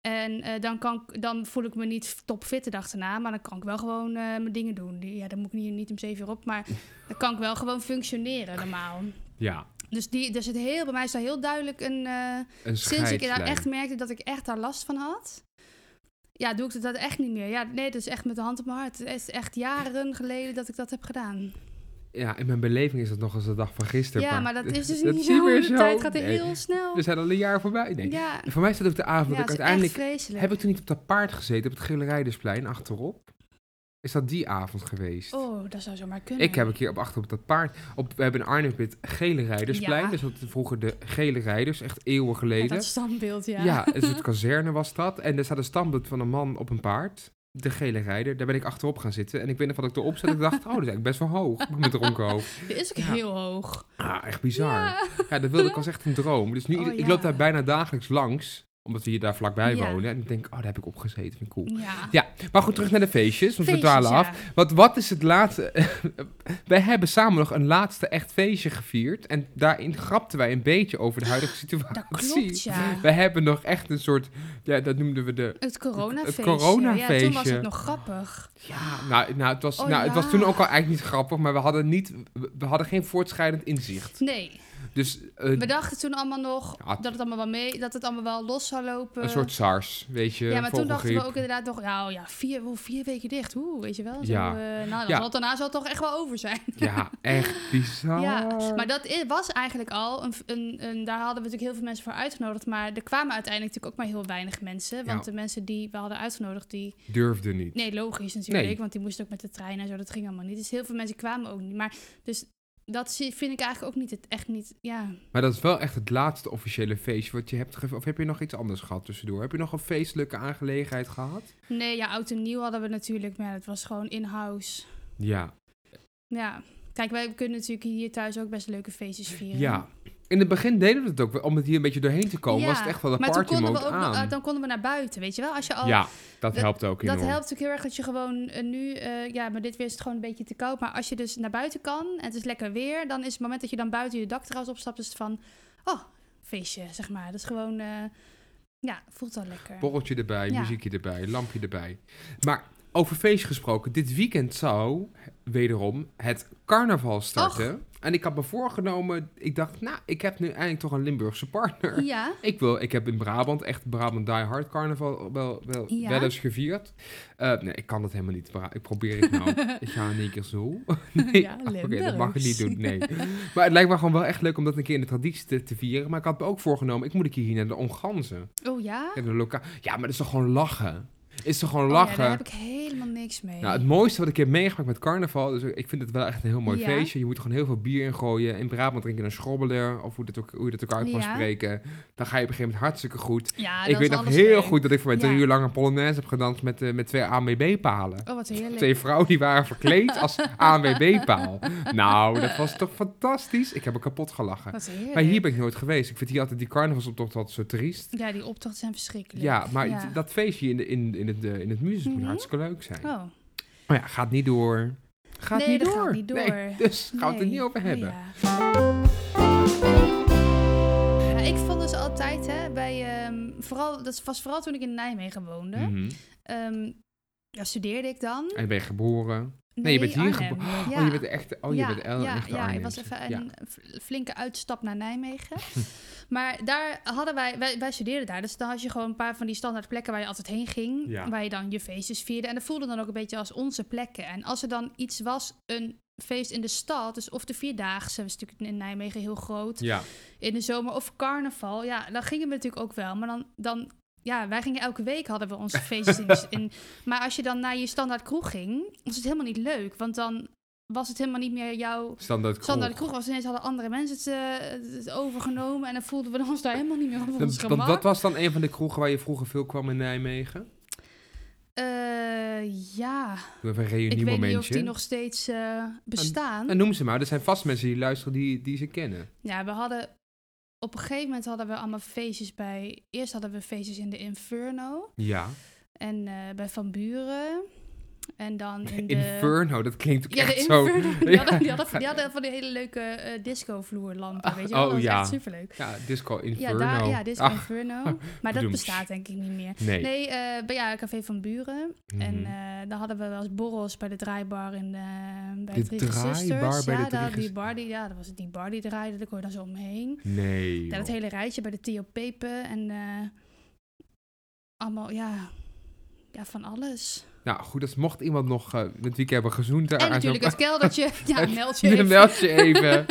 B: en eh, dan, kan, ik- dan voel ik me niet topfit de dag daarna, maar dan kan ik wel gewoon eh, mijn dingen doen. Die- Ja, dan moet ik niet, niet om zeven uur op, maar dan kan ik wel gewoon functioneren normaal.
C: Ja,
B: Dus die, dus het heel, bij mij is daar heel duidelijk een. eh,
C: een
B: sinds ik
C: scheidslijn.
B: nou echt merkte dat ik echt daar last van had. Ja, doe ik dat echt niet meer. Ja, nee, dat is echt met de hand op mijn hart. Het is echt jaren geleden dat ik dat heb gedaan.
C: Ja, in mijn beleving is dat nog eens de dag van gisteren.
B: ja, maar dat is dus
C: dat
B: niet
C: is niet
B: zo.
C: meer
B: De
C: zo.
B: tijd gaat er
C: Nee.
B: heel snel.
C: We zijn al een jaar voorbij. Nee.
B: ja,
C: Voor mij is dat ook de
B: ja,
C: avond dat
B: het
C: ik
B: is
C: uiteindelijk...
B: echt vreselijk.
C: Heb ik toen niet op dat paard gezeten, op het Gillerijdensplein achterop? Is dat die avond geweest?
B: Oh, dat zou zomaar kunnen.
C: Ik heb een keer op achter op dat paard. Op, we hebben in Arnhem heb je het gele rijdersplein.
B: Ja.
C: Dus dat vroeger de gele rijders, echt eeuwen
B: Ja,
C: geleden.
B: dat standbeeld, ja.
C: Ja, dus het kazerne was dat. En er staat een standbeeld van een man op een paard. De gele rijder. Daar ben ik achterop gaan zitten. En ik weet nog dat ik erop zat. Ik dacht, oh, dat is eigenlijk best wel hoog. Met mijn dronken hoofd.
B: Die is ook
C: Ja.
B: heel hoog.
C: Ah, echt bizar. Ja,
B: Ja.
C: dat wilde ik als echt een droom. Dus nu,
B: Oh,
C: ik
B: ja.
C: loop daar bijna dagelijks langs. Omdat we hier daar vlakbij
B: Ja.
C: wonen. En ik denk, oh, daar heb ik opgezeten. Vind ik cool.
B: ja.
C: Ja, maar goed, terug naar de feestjes. Want we
B: Feestjes,
C: dwalen
B: ja.
C: af. Wat, wat is het laatste? wij hebben samen nog een laatste echt feestje gevierd. En daarin grapten wij een beetje over de huidige situatie.
B: Ah, Dat klopt, ja.
C: Wij hebben nog echt een soort. Ja, dat noemden we de.
B: Het coronafeestje. Ja, toen was
C: coronafeestje.
B: het nog grappig.
C: Ja, nou, nou, het, was,
B: Oh,
C: nou het was
B: ja.
C: toen ook al eigenlijk niet grappig. Maar we hadden, niet, we- we hadden geen voortschrijdend inzicht.
B: Nee,
C: Dus eh,
B: We dachten toen allemaal nog
C: Ja,
B: dat het allemaal wel mee, dat het allemaal wel los zou lopen.
C: een soort SARS, weet je.
B: ja, maar toen dachten we
C: vogelgriep.
B: ook inderdaad nog, nou ja, vier, oh, vier weken dicht, oeh, weet je wel. Zo,
C: Ja.
B: eh, nou, dan
C: Ja.
B: zal het daarna zal het toch echt wel over zijn.
C: Ja, echt bizar.
B: Ja,
C: Ah.
B: maar dat i- was eigenlijk al, een, een, een- daar hadden we natuurlijk heel veel mensen voor uitgenodigd, maar er kwamen uiteindelijk natuurlijk ook maar heel weinig mensen. Want
C: Ja.
B: de mensen die we hadden uitgenodigd, die,
C: Durfde niet.
B: nee, logisch natuurlijk,
C: Nee.
B: want die moesten ook met de trein en zo, dat ging allemaal niet. Dus heel veel mensen kwamen ook niet. Maar dus dat zie- vind ik eigenlijk ook niet, het, echt niet, ja.
C: Maar dat is wel echt het laatste officiële feestje wat je hebt gevierd. Of heb je nog iets anders gehad tussendoor? Heb je nog een feestelijke aangelegenheid gehad?
B: Nee, ja, oud en nieuw hadden we natuurlijk, maar het was gewoon in-house.
C: Ja,
B: Ja. Kijk, wij kunnen natuurlijk hier thuis ook best leuke feestjes vieren.
C: Ja. In het begin deden we het ook wel. Om het hier een beetje doorheen te komen,
B: Ja,
C: was het echt wel een
B: maar toen
C: party
B: konden
C: mode
B: we ook
C: aan.
B: nog- eh, dan konden we naar buiten, weet je wel? Als je al,
C: ja, dat,
B: dat-
C: helpt ook
B: dat
C: enorm.
B: helpt natuurlijk heel erg dat je gewoon eh, nu... eh, ja, maar dit weer is het gewoon een beetje te koud. Maar als je dus naar buiten kan en het is lekker weer... dan is het moment dat je dan buiten je dakterras opstapt... is het van, oh, feestje, zeg maar. Dat is gewoon... eh, ja, voelt wel lekker.
C: Borreltje erbij,
B: Ja.
C: muziekje erbij, lampje erbij. Maar over feest gesproken, dit weekend zou wederom het carnaval starten. En ik had me voorgenomen, ik dacht, nou, ik heb nu eindelijk toch een Limburgse partner.
B: ja,
C: Ik, wil, ik heb in Brabant echt Brabant Die Hard carnaval wel, wel,
B: Ja.
C: wel eens gevierd. Eh, nee, ik kan dat helemaal niet. Bra- Ik probeer het nou. ik ga in één keer zo. Nee,
B: Ja,
C: oké, dat mag je
B: Limburgs.
C: niet doen. Nee. maar het lijkt me gewoon wel echt leuk om dat een keer in de traditie te, te vieren. Maar ik had me ook voorgenomen, ik moet een keer hier naar de onganzen.
B: oh ja?
C: En de loka- ja, maar dat is toch gewoon lachen? Is toch gewoon
B: Oh ja,
C: lachen?
B: daar heb ik helemaal niks niks mee.
C: Nou, het mooiste wat ik heb meegemaakt met carnaval, dus ik vind het wel echt een heel mooi
B: Ja.
C: feestje. Je moet er gewoon heel veel bier in gooien. In Brabant drink je een schrobbeler, of hoe, dat ook, hoe je dat ook uit mag
B: Ja.
C: spreken. Dan ga je op een gegeven moment hartstikke goed.
B: ja,
C: ik
B: dat Ah, is
C: weet nog
B: alles
C: heel
B: leuk.
C: goed dat ik voor mij
B: Ja.
C: drie uur lang een polonaise heb gedanst met, eh, met twee AMB-palen.
B: Oh, wat heerlijk.
C: Twee vrouwen die waren verkleed als ANWB-paal. Nou, dat was toch fantastisch? Ik heb er kapot gelachen.
B: Wat heerlijk.
C: Maar hier ben ik nooit geweest. Ik vind hier altijd die carnavalsoptocht altijd zo triest.
B: Ja, die optochten zijn verschrikkelijk.
C: Ja, maar
B: Ja.
C: d- dat feestje in, de, in, in het, eh, in het museum moet
B: Mhm.
C: hartstikke leuk zijn.
B: Oh,
C: Maar ja, gaat niet door. Gaat
B: Nee,
C: niet
B: dat
C: door.
B: gaat niet door.
C: Nee, dus gaan we het er
B: nee. Oh
C: niet over hebben.
B: Ja. Ja, ik vond dus altijd, hè, bij, ehm, vooral, dat was vooral toen ik in Nijmegen woonde.
C: Mhm.
B: Ehm, ja, studeerde ik dan.
C: En ben je geboren? Nee, je bent hier
B: Arnhem.
C: geboren.
B: Ja.
C: Oh, je bent echt. Oh, je bent el-
B: ja,
C: echt
B: ja,
C: Arnhem.
B: ik was even
C: Ja.
B: een f- flinke uitstap naar Nijmegen. maar daar hadden wij, wij, wij studeerden daar. Dus dan had je gewoon een paar van die standaard plekken waar je altijd heen ging.
C: Ja.
B: Waar je dan je feestjes vierde. En dat voelde dan ook een beetje als onze plekken. En als er dan iets was, een feest in de stad, dus of de Vierdaagse, dat is natuurlijk in Nijmegen heel groot.
C: Ja.
B: In de zomer of carnaval, ja, dan gingen we natuurlijk ook wel. Maar dan, dan ja, wij gingen elke week, hadden we onze feestjes. in de- in, maar als je dan naar je standaard kroeg ging, was het helemaal niet leuk. Want dan was het helemaal niet meer jouw
C: Standaard kroeg.
B: Standaard kroeg was ineens hadden andere mensen het, eh, het overgenomen en dan voelden we ons daar helemaal niet meer op ons
C: Want-
B: gemak.
C: Want wat was dan een van de kroegen waar je vroeger veel kwam in Nijmegen?
B: Eh, ja,
C: Doe even
B: ik
C: een
B: weet niet of
C: reuniemomentje.
B: die nog steeds eh, bestaan.
C: En noem ze maar. Er zijn vast mensen die luisteren die, die ze kennen.
B: Ja, we hadden op een gegeven moment hadden we allemaal feestjes bij. Eerst hadden we feestjes in de Inferno
C: Ja.
B: en eh, bij Van Buren en dan in de
C: Inferno, dat klinkt ook
B: Ja, de
C: echt
B: Inferno.
C: zo...
B: Die, hadden, die, hadden, die hadden van die hele leuke eh, disco-vloerlampen. Weet je wel?
C: Oh,
B: dat was
C: ja.
B: echt superleuk.
C: Ja, Disco
B: Ja,
C: Inferno.
B: daar, ja, Disco
C: Ach,
B: Inferno. Maar dat
C: bedoemst.
B: bestaat denk ik niet meer.
C: nee.
B: Nee, eh, bij ja, Café van Buren. En
C: Mhm.
B: eh, dan hadden we wel eens borrels bij de draaibar in de, eh, bij
C: De
B: Drie
C: draaibar
B: Gezusters.
C: bij
B: ja,
C: de Drie
B: daar- die
C: Ges-
B: bar die, ja, dat was die bar die draaide. Daar kon je dan zo omheen.
C: nee.
B: Ja, dat
C: joh.
B: hele rijtje bij de Theo Pepe en eh, allemaal, ja, ja, van alles.
C: Nou, goed, dus mocht iemand nog eh dit weekend hebben gezoend... daar
B: en
C: aan
B: natuurlijk
C: zo'n-
B: het keldertje. ja, meld je
C: Dan
B: even.
C: meld je even.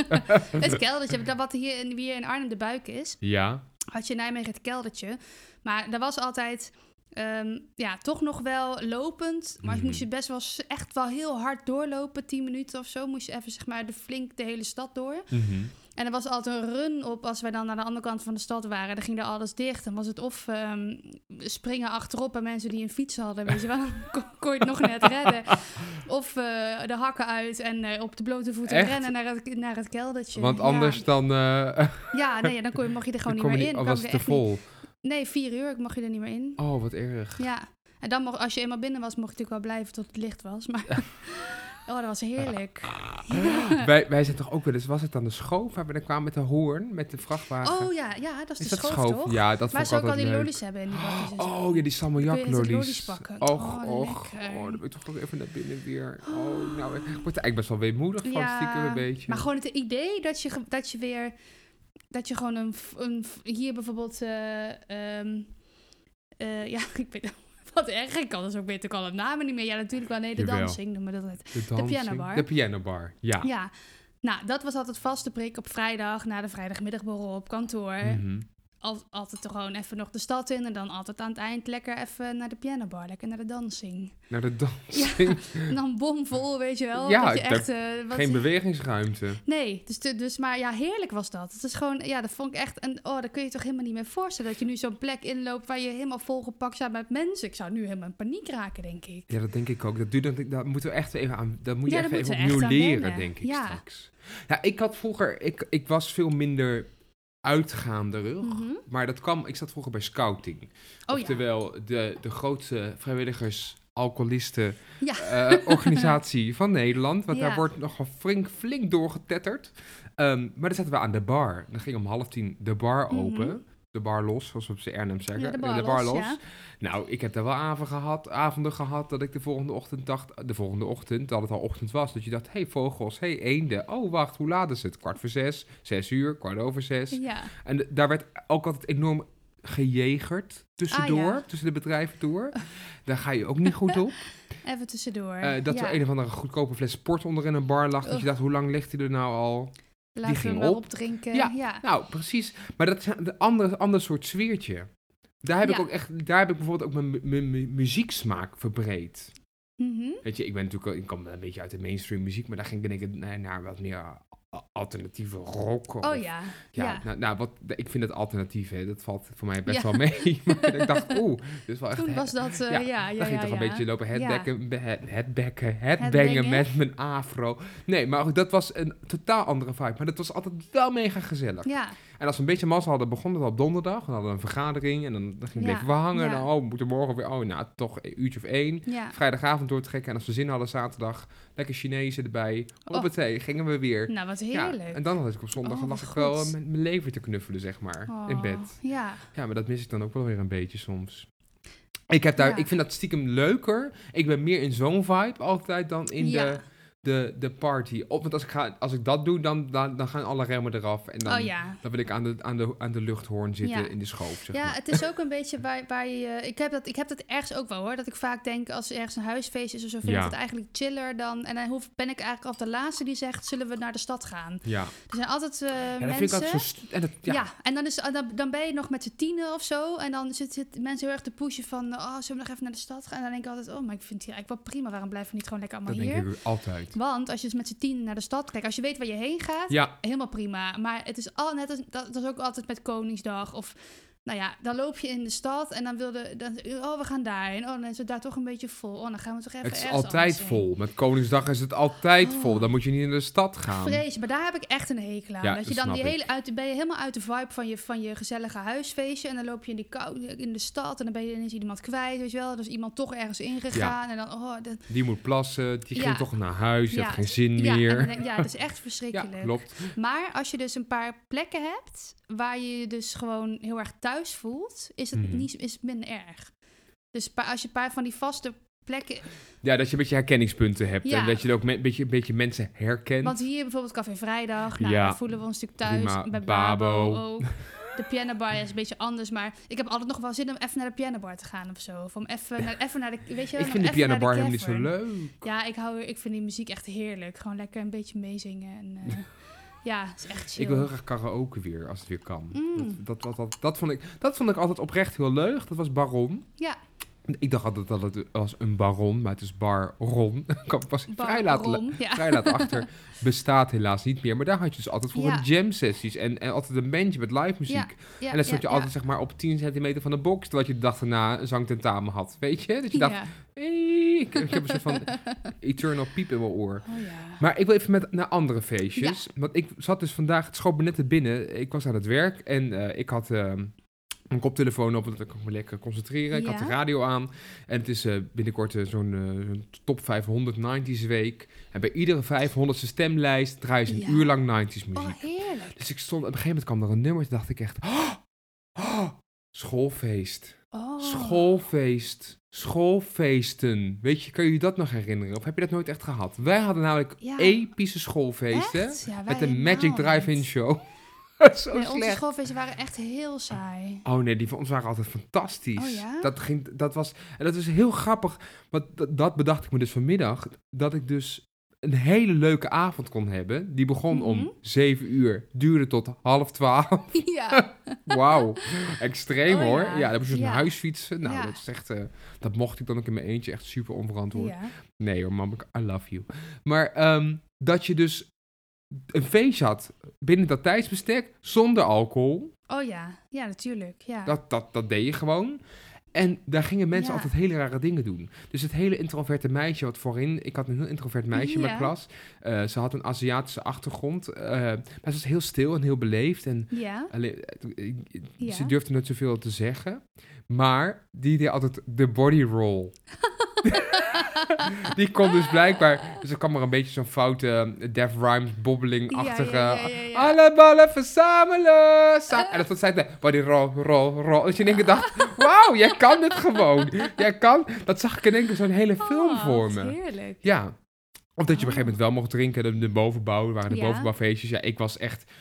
B: Het keldertje, dat wat hier in, hier in Arnhem de buik is.
C: ja.
B: had je in Nijmegen het keldertje. Maar daar was altijd, ehm, ja, toch nog wel lopend. Maar
C: Mhm.
B: moest je best wel s- echt wel heel hard doorlopen, 10 minuten of zo. Moest je even, zeg maar, de flink de hele stad door.
C: Mhm.
B: En er was altijd een run op als wij dan aan de andere kant van de stad waren. Dan ging er alles dicht. Dan was het of ehm, springen achterop bij mensen die een fiets hadden. Weet je wel, dan kon- kon je het nog net redden. Of eh, de hakken uit en eh, op de blote voeten
C: Echt?
B: rennen naar het, naar het keldertje.
C: Want
B: Ja.
C: anders dan... eh
B: Ja, nee, dan kon je, mocht je er gewoon niet
C: kom je
B: meer
C: niet-
B: in. Kwam
C: oh, was
B: je
C: het
B: er
C: te
B: echt niet-
C: vol.
B: Nee, vier uur ik mag je er niet meer in.
C: Oh, wat erg.
B: Ja. En dan mocht, als je eenmaal binnen was, mocht je natuurlijk wel blijven tot het licht was. Maar oh, dat was heerlijk.
C: wij, wij zijn toch ook wel eens... Was het dan de schoof waar we dan kwamen met de hoorn? Met de vrachtwagen?
B: Oh ja, ja dat is, de
C: dat
B: schoof, toch?
C: Ja, dat
B: maar
C: vond ik
B: zou ik al
C: altijd
B: die
C: leuk.
B: lollies hebben in die bakjes en zo.
C: Oh, ja, die
B: Dan kun je natuurlijk lollies
C: salmonjak-lollies.
B: pakken.
C: Och,
B: Oh,
C: och.
B: lekker.
C: Oh, dan ben ik toch ook even naar binnen weer. Oh, nou, ik word er eigenlijk best wel weemoedig van, stiekem een beetje.
B: Maar gewoon het idee dat je, ge- dat je weer... Dat je gewoon een... f- een f- hier bijvoorbeeld... eh, ehm, eh, ja, ik weet wat erg. Ik kan dus ook beter. Ik kan de namen niet meer. Ja, natuurlijk wel. Nee, de
C: Jawel. Ah.
B: dansing noemen we dat.
C: de, dansing-
B: pianobar.
C: De pianobar, ja.
B: Ja. Nou, dat was altijd vaste prik op vrijdag na de vrijdagmiddagborrel op kantoor.
C: Mhm.
B: Al- altijd toch gewoon even nog de stad in en dan altijd aan het eind lekker even naar de pianobar, lekker naar de dansing.
C: Naar de dansing.
B: En dan bomvol, weet je wel.
C: Ja,
B: dat je
C: ik
B: echt, eh, wat-
C: Geen bewegingsruimte.
B: Nee, dus, te- dus, maar ja, heerlijk was dat. Het is gewoon, ja, dat vond ik echt een, oh, dat kun je je toch helemaal niet meer voorstellen. Dat je nu zo'n plek inloopt waar je helemaal volgepakt staat met mensen. Ik zou nu helemaal in paniek raken, denk ik.
C: Ja, dat denk ik ook. Dat, duurt, dat, dat moeten we echt even aan. Dat moet je
B: Ja,
C: echt
B: daar
C: even
B: moeten we
C: opnieuw
B: echt aan
C: leren,
B: wennen.
C: denk ik
B: Ja.
C: straks. Ja, ik had vroeger. Ik, ik was veel minder uitgaanderig.
B: Mhm.
C: Maar dat kwam. Ik zat vroeger bij scouting.
B: Oh ja.
C: Oftewel, de, de grootste vrijwilligers. Alcoholisten
B: Ja.
C: eh, organisatie van Nederland. Want
B: Ja.
C: daar wordt nogal flink, flink doorgetetterd. Ehm, maar dan zaten we aan de bar. Dan ging om half tien de bar
B: Mhm.
C: open. De bar los, zoals we op zijn Arnhem zeggen.
B: Ja, de bar los, ja.
C: Nou, ik heb daar wel avond gehad, avonden gehad dat ik de volgende ochtend dacht, de volgende ochtend, dat het al ochtend was, dat je dacht, hé hey, vogels, hé hey, eenden, oh wacht, hoe laat is het? Kwart voor zes, zes uur, kwart over zes.
B: Ja.
C: En d- daar werd ook altijd enorm gejegerd tussendoor,
B: Ah, ja.
C: tussen de bedrijven door. Daar ga je ook niet goed op.
B: Even tussendoor.
C: Eh, dat
B: ja.
C: er een of andere goedkope fles sport onder in een bar lag, dat
B: Ugh.
C: je dacht, hoe lang ligt hij er nou al?
B: Laten we
C: ging
B: hem wel
C: op.
B: opdrinken.
C: Ja.
B: ja.
C: Nou, precies. Maar dat is een ander, ander soort sfeertje. Daar heb
B: Ja.
C: ik ook echt, daar heb ik bijvoorbeeld ook mijn, mu- mu- mu- muzieksmaak verbreed.
B: Mhm.
C: Weet je, ik ben natuurlijk, wel- ik kom wel een beetje uit de mainstream muziek, maar daar ging ik denk ik naar, naar wat meer a- alternatieve rock.
B: Oh
C: of-
B: ja.
C: Ja,
B: ja.
C: Nou, nou, wat, ik vind het alternatief, hè, dat valt voor mij best
B: Ja.
C: wel mee. Maar ik dacht, oeh, dit is wel echt...
B: Toen
C: he-
B: was dat, eh, ja,
C: ja,
B: ja, ja.
C: dan ging ik toch
B: ja.
C: een beetje lopen headbacken, be- head- headbacken, headbangen
B: Headbangen.
C: met mijn afro. Nee, maar goed, dat was een totaal andere vibe. Maar dat was altijd wel mega gezellig.
B: Ja,
C: En als we een beetje massa hadden, begon het al op donderdag. Dan hadden we een vergadering en dan, dan ging
B: Ja,
C: bleven we hangen.
B: ja.
C: En dan, oh, we moeten morgen weer, oh, nou, toch een uurtje of één.
B: ja.
C: Vrijdagavond doortrekken en als we zin hadden, zaterdag lekker Chinezen erbij. Hoppatee, gingen we weer.
B: Nou, wat heerlijk.
C: Ja, en dan had ik op zondag
B: Oh,
C: lag
B: wat
C: ik wel
B: goed.
C: eh, met mijn lever te knuffelen, zeg maar, in
B: Oh,
C: bed.
B: Ja,
C: Ja, maar dat mis ik dan ook wel weer een beetje soms. Ik, heb daar,
B: Ja.
C: ik vind dat stiekem leuker. Ik ben meer in zo'n vibe altijd dan in
B: ja.
C: de, de, de party. Op, want als ik, ga, als ik dat doe, dan, dan, dan gaan alle remmen eraf. En dan,
B: oh ja.
C: dan wil ik aan de, aan de, aan de luchthoorn zitten
B: Ja.
C: in de schoof, zeg
B: Ja,
C: maar.
B: het is ook een beetje waar, waar je... eh, Ik heb, dat, ik heb dat ergens ook wel hoor. Dat ik vaak denk, als er ergens een huisfeest is of zo, vind
C: Ja.
B: ik het eigenlijk chiller dan... En dan hoef, ben ik eigenlijk altijd de laatste die zegt, zullen we naar de stad gaan?
C: Ja,
B: Er zijn altijd eh,
C: ja dat
B: mensen...
C: vind ik altijd zo... stu- en dat,
B: Ja.
C: ja,
B: en dan, is, ah, dan, dan ben je nog met z'n tienen of zo. En dan zit, zit mensen heel erg te pushen van... Oh, zullen we nog even naar de stad gaan? En dan denk ik altijd... Oh, maar ik vind het hier eigenlijk wel prima. Waarom blijven we niet gewoon lekker
C: dat
B: allemaal
C: denk
B: hier?
C: ik ook altijd.
B: Want als je dus met z'n tienen naar de stad kijkt... Als je weet waar je heen gaat,
C: Ja,
B: helemaal prima. Maar het is al net als... Dat, dat is ook altijd met Koningsdag of... Nou ja, dan loop je in de stad en dan wilde... Dan, oh, we gaan daarheen. Oh, dan is het daar toch een beetje vol. Oh, dan gaan we toch even
C: het is
B: ergens
C: altijd
B: anders heen.
C: vol. Met Koningsdag is het altijd
B: Oh.
C: vol. Dan moet je niet in de stad gaan.
B: Vrees, maar daar heb ik echt een hekel aan.
C: Ja,
B: dat je
C: dat
B: dan
C: snap
B: die
C: ik.
B: hele uit, ben je helemaal uit de vibe van je, van je gezellige huisfeestje. En dan loop je in, die kou, in de stad en dan ben je ineens iemand kwijt. Weet je wel, dus iemand toch ergens ingegaan. En dan, oh, dat,
C: Die moet plassen, die
B: Ja.
C: ging toch naar huis, die
B: Ja.
C: heeft geen zin
B: ja, en dan
C: meer.
B: denk ik, ja, dat is echt
C: Ja,
B: verschrikkelijk.
C: klopt.
B: maar als je dus een paar plekken hebt waar je je dus gewoon heel erg thuis voelt, is het,
C: Mhm.
B: niet, is het minder erg. Dus pa- als je een paar van die vaste plekken.
C: Ja, dat je een beetje herkenningspunten hebt.
B: Ja.
C: En dat je er ook me- een, beetje, een beetje mensen herkent.
B: Want hier bijvoorbeeld Café Vrijdag, nou,
C: Ja,
B: daar voelen we ons natuurlijk thuis.
C: prima.
B: Bij Babo,
C: Babo.
B: ook. De pianobar is een beetje anders, maar ik heb altijd nog wel zin om even naar de pianobar te gaan of zo. Of om even naar, even naar de, weet je, wel,
C: ik vind de
B: even naar
C: pianobar helemaal niet zo
B: cavern.
C: leuk.
B: Ja, ik, hou, ik vind die muziek echt heerlijk. Gewoon lekker een beetje meezingen. En, eh, ja, het is echt chill.
C: Ik wil heel graag karaoke weer, als het weer kan.
B: Mm.
C: Dat, dat, dat, dat, dat vond ik, dat vond ik altijd oprecht heel leuk. Dat was Baron.
B: Ja.
C: Ik dacht altijd dat het was een baron, maar het is baron. Ik kwam pas
B: Bar-
C: vrij laat,
B: rom, ja.
C: vrij laat achter. Bestaat helaas niet meer. Maar daar had je dus altijd voor
B: Ja.
C: jam sessies. En, en altijd een bandje met live muziek.
B: Ja, ja,
C: en dan stond
B: ja,
C: je altijd zeg maar, op 10 centimeter van de box, terwijl je de dag daarna een zangtentamen had. Weet je? Dat je
B: ja.
C: dacht,
B: Ja.
C: "Hey." ik, ik heb een soort van eternal piep in mijn oor.
B: Oh ja.
C: Maar ik wil even met, naar andere feestjes. Want ik zat dus vandaag, het schoot me net te binnen. Ik was aan het werk en eh, ik had eh, mijn koptelefoon op, want dan kon ik me lekker concentreren. Ik had de
B: Ja.
C: radio aan. En het is eh, binnenkort eh, zo'n eh, zo'n top 500 90s week. En bij iedere 500ste stemlijst draaien ze een
B: Ja.
C: uur lang 90s muziek.
B: Oh, heerlijk.
C: Dus ik stond, op een gegeven moment kwam er een nummer, toen dacht ik echt, oh, oh, schoolfeest,
B: Oh.
C: schoolfeest, schoolfeesten. Weet je, kan je dat nog herinneren? Of heb je dat nooit echt gehad? Wij hadden namelijk
B: Ja.
C: epische schoolfeesten
B: Echt? Ja, wij
C: met een Magic
B: helemaal
C: Drive-In
B: niet.
C: show. Zo
B: Nee, onze
C: slecht.
B: schoolfeesten waren echt heel saai.
C: Oh nee, die van ons waren altijd fantastisch.
B: Oh ja?
C: dat, ging, dat was, en dat is heel grappig, want dat, dat bedacht ik me dus vanmiddag, dat ik dus een hele leuke avond kon hebben. Die begon
B: Mhm.
C: om 7 uur, duurde tot half 12.
B: ja.
C: Wauw, extreem
B: Oh,
C: hoor.
B: ja.
C: Ja, dan moest je dus
B: Ja.
C: naar huis fietsen. Nou,
B: Ja.
C: dat is echt, eh, dat mocht ik dan ook in mijn eentje. Echt super onverantwoord.
B: ja.
C: Nee hoor, mam, ik- I love you. Maar ehm, dat je dus een feestje had binnen dat tijdsbestek, zonder alcohol.
B: Oh ja. Ja, natuurlijk. Ja.
C: Dat, dat, dat deed je gewoon. En daar gingen
B: Ja.
C: mensen altijd hele rare dingen doen. Dus het hele introverte meisje wat voorin... Ik had een heel introvert meisje in
B: Ja.
C: mijn klas. Eh, ze had een Aziatische achtergrond. eh, maar ze was heel stil en heel beleefd. En
B: ja.
C: Alleen, eh, t- ik- ik-
B: Ja.
C: Ze durfde net zoveel te zeggen. Maar die deed altijd de body roll. die kon dus blijkbaar... Dus er kwam er een beetje zo'n foute eh, Def Rhymes bobbeling-achtige...
B: Ja, ja, ja, ja, ja.
C: Alle ballen verzamelen! sa- en dat was zij de body roll, roll, roll. Dus je denkt dacht, wauw, jij kan dit gewoon. Jij kan... Dat zag ik in één keer zo'n hele film
B: Oh,
C: voor
B: wat
C: me.
B: Heerlijk.
C: Ja. Of dat je op
B: Oh.
C: een gegeven moment wel mocht drinken. De, de bovenbouw, er waren de
B: Ja.
C: bovenbouwfeestjes. Ja, ik was echt...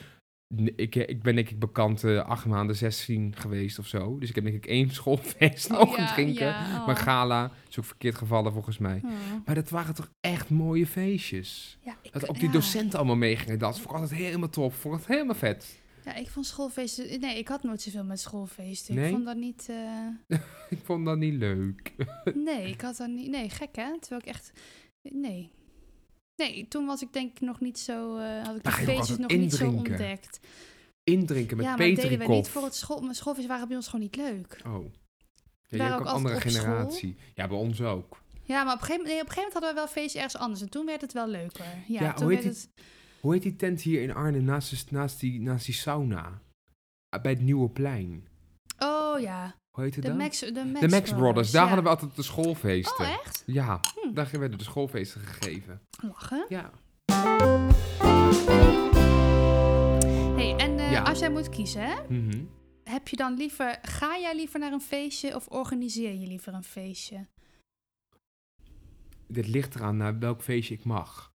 C: Ik, eh, ik ben denk ik bekant eh, acht maanden 16 geweest of zo. Dus ik heb denk ik één schoolfeest
B: Oh,
C: mogen
B: ja,
C: drinken.
B: ja, oh.
C: Maar gala is ook verkeerd gevallen volgens mij.
B: Oh.
C: Maar dat waren toch echt mooie feestjes.
B: Ja, ik,
C: Dat ook die
B: ja.
C: docenten allemaal meegingen dansen. Vond ik altijd helemaal top. Vond ik het helemaal vet.
B: Ja, ik vond schoolfeesten... Nee, ik had nooit zoveel met schoolfeesten.
C: Nee?
B: Ik vond dat niet... eh,
C: Ik vond dat niet leuk.
B: Nee, ik had dat niet... Nee, gek hè? Terwijl ik echt... Nee. Nee, toen was ik denk ik nog niet zo... eh, had ik de
C: Maar Nou, je kon
B: feestjes nog
C: altijd
B: niet zo
C: indrinken.
B: ontdekt.
C: Indrinken met
B: ja, maar dat deden we niet
C: petrikop.
B: voor het school... Mijn schoolfeesten waren bij ons gewoon niet leuk.
C: Oh. Ja,
B: waren
C: jij ook
B: ook
C: een
B: altijd
C: andere
B: op school.
C: generatie. Ja, bij ons ook.
B: Ja, maar op een, gegeven, nee, op een gegeven moment hadden we wel feestjes ergens anders. En toen werd het wel leuker. Ja,
C: Ja,
B: toen
C: hoe
B: werd
C: heet
B: het...
C: Hoe heet die tent hier in Arnhem naast, de- naast, die, naast die sauna? Ah, Bij het Nieuwe Plein.
B: Oh ja,
C: Hoe heet het
B: de
C: dan?
B: Max, de Max,
C: de Max Brothers. Daar
B: ja.
C: hadden we altijd de schoolfeesten.
B: Oh, echt?
C: Ja,
B: Hm.
C: daar werden de schoolfeesten gegeven.
B: Lachen.
C: Ja.
B: Hey, en eh,
C: Ja.
B: als jij moet kiezen, hè,
C: Mhm.
B: heb je dan liever... Ga jij liever naar een feestje of organiseer je liever een feestje?
C: Dit ligt eraan naar welk feestje ik mag.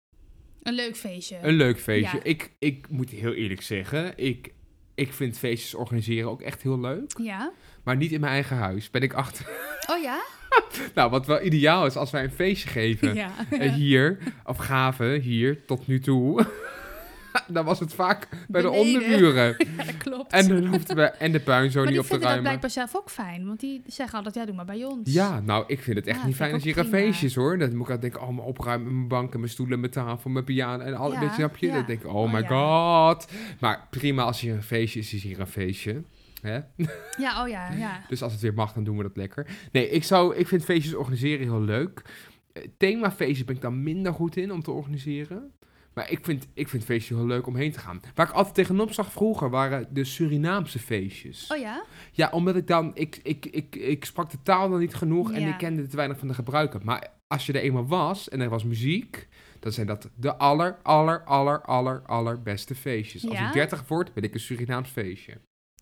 B: Een leuk feestje.
C: Een leuk feestje.
B: Ja.
C: Ik, ik moet heel eerlijk zeggen, ik, ik vind feestjes organiseren ook echt heel leuk.
B: Ja.
C: Maar niet in mijn eigen huis. Ben ik achter.
B: Oh ja?
C: Nou, wat wel ideaal is als wij een feestje geven.
B: Ja.
C: eh, hier, of gaven hier, tot nu toe. dan was het vaak bij de
B: Beneden.
C: onderburen.
B: Ja, klopt.
C: En, dan hoefden we, en de puinzoon
B: maar die
C: niet op te
B: vinden dat
C: ruimen.
B: blijkbaar zelf ook fijn. Want die zeggen altijd, ja, doe maar bij ons.
C: Ja, nou, ik vind het echt
B: Ja,
C: niet
B: vind ik
C: fijn als je
B: ook
C: hier aan
B: prima.
C: feestjes hoor. Dan moet ik altijd denken, oh, mijn opruimen, mijn banken, mijn stoelen, mijn tafel, mijn piano en al
B: Ja,
C: dit snap je.
B: ja.
C: Dan denk ik, oh,
B: Oh,
C: my
B: ja.
C: god. Maar prima als hier een feestje is, is hier een feestje. Hè?
B: Ja, oh ja, ja.
C: Dus als het weer mag, dan doen we dat lekker. Nee, ik, zou, ik vind feestjes organiseren heel leuk. Eh, Themafeestjes ben ik dan minder goed in om te organiseren. Maar ik vind, ik vind feestjes heel leuk om heen te gaan. Waar ik altijd tegenop zag vroeger waren de Surinaamse feestjes.
B: Oh ja?
C: Ja, omdat ik dan, ik, ik, ik, ik sprak de taal dan niet genoeg en
B: Ja.
C: ik kende te weinig van de gebruiker. Maar als je er eenmaal was en er was muziek, dan zijn dat de aller, aller, aller, aller, allerbeste feestjes. Als
B: Ja?
C: ik 30 word, ben ik een Surinaams feestje.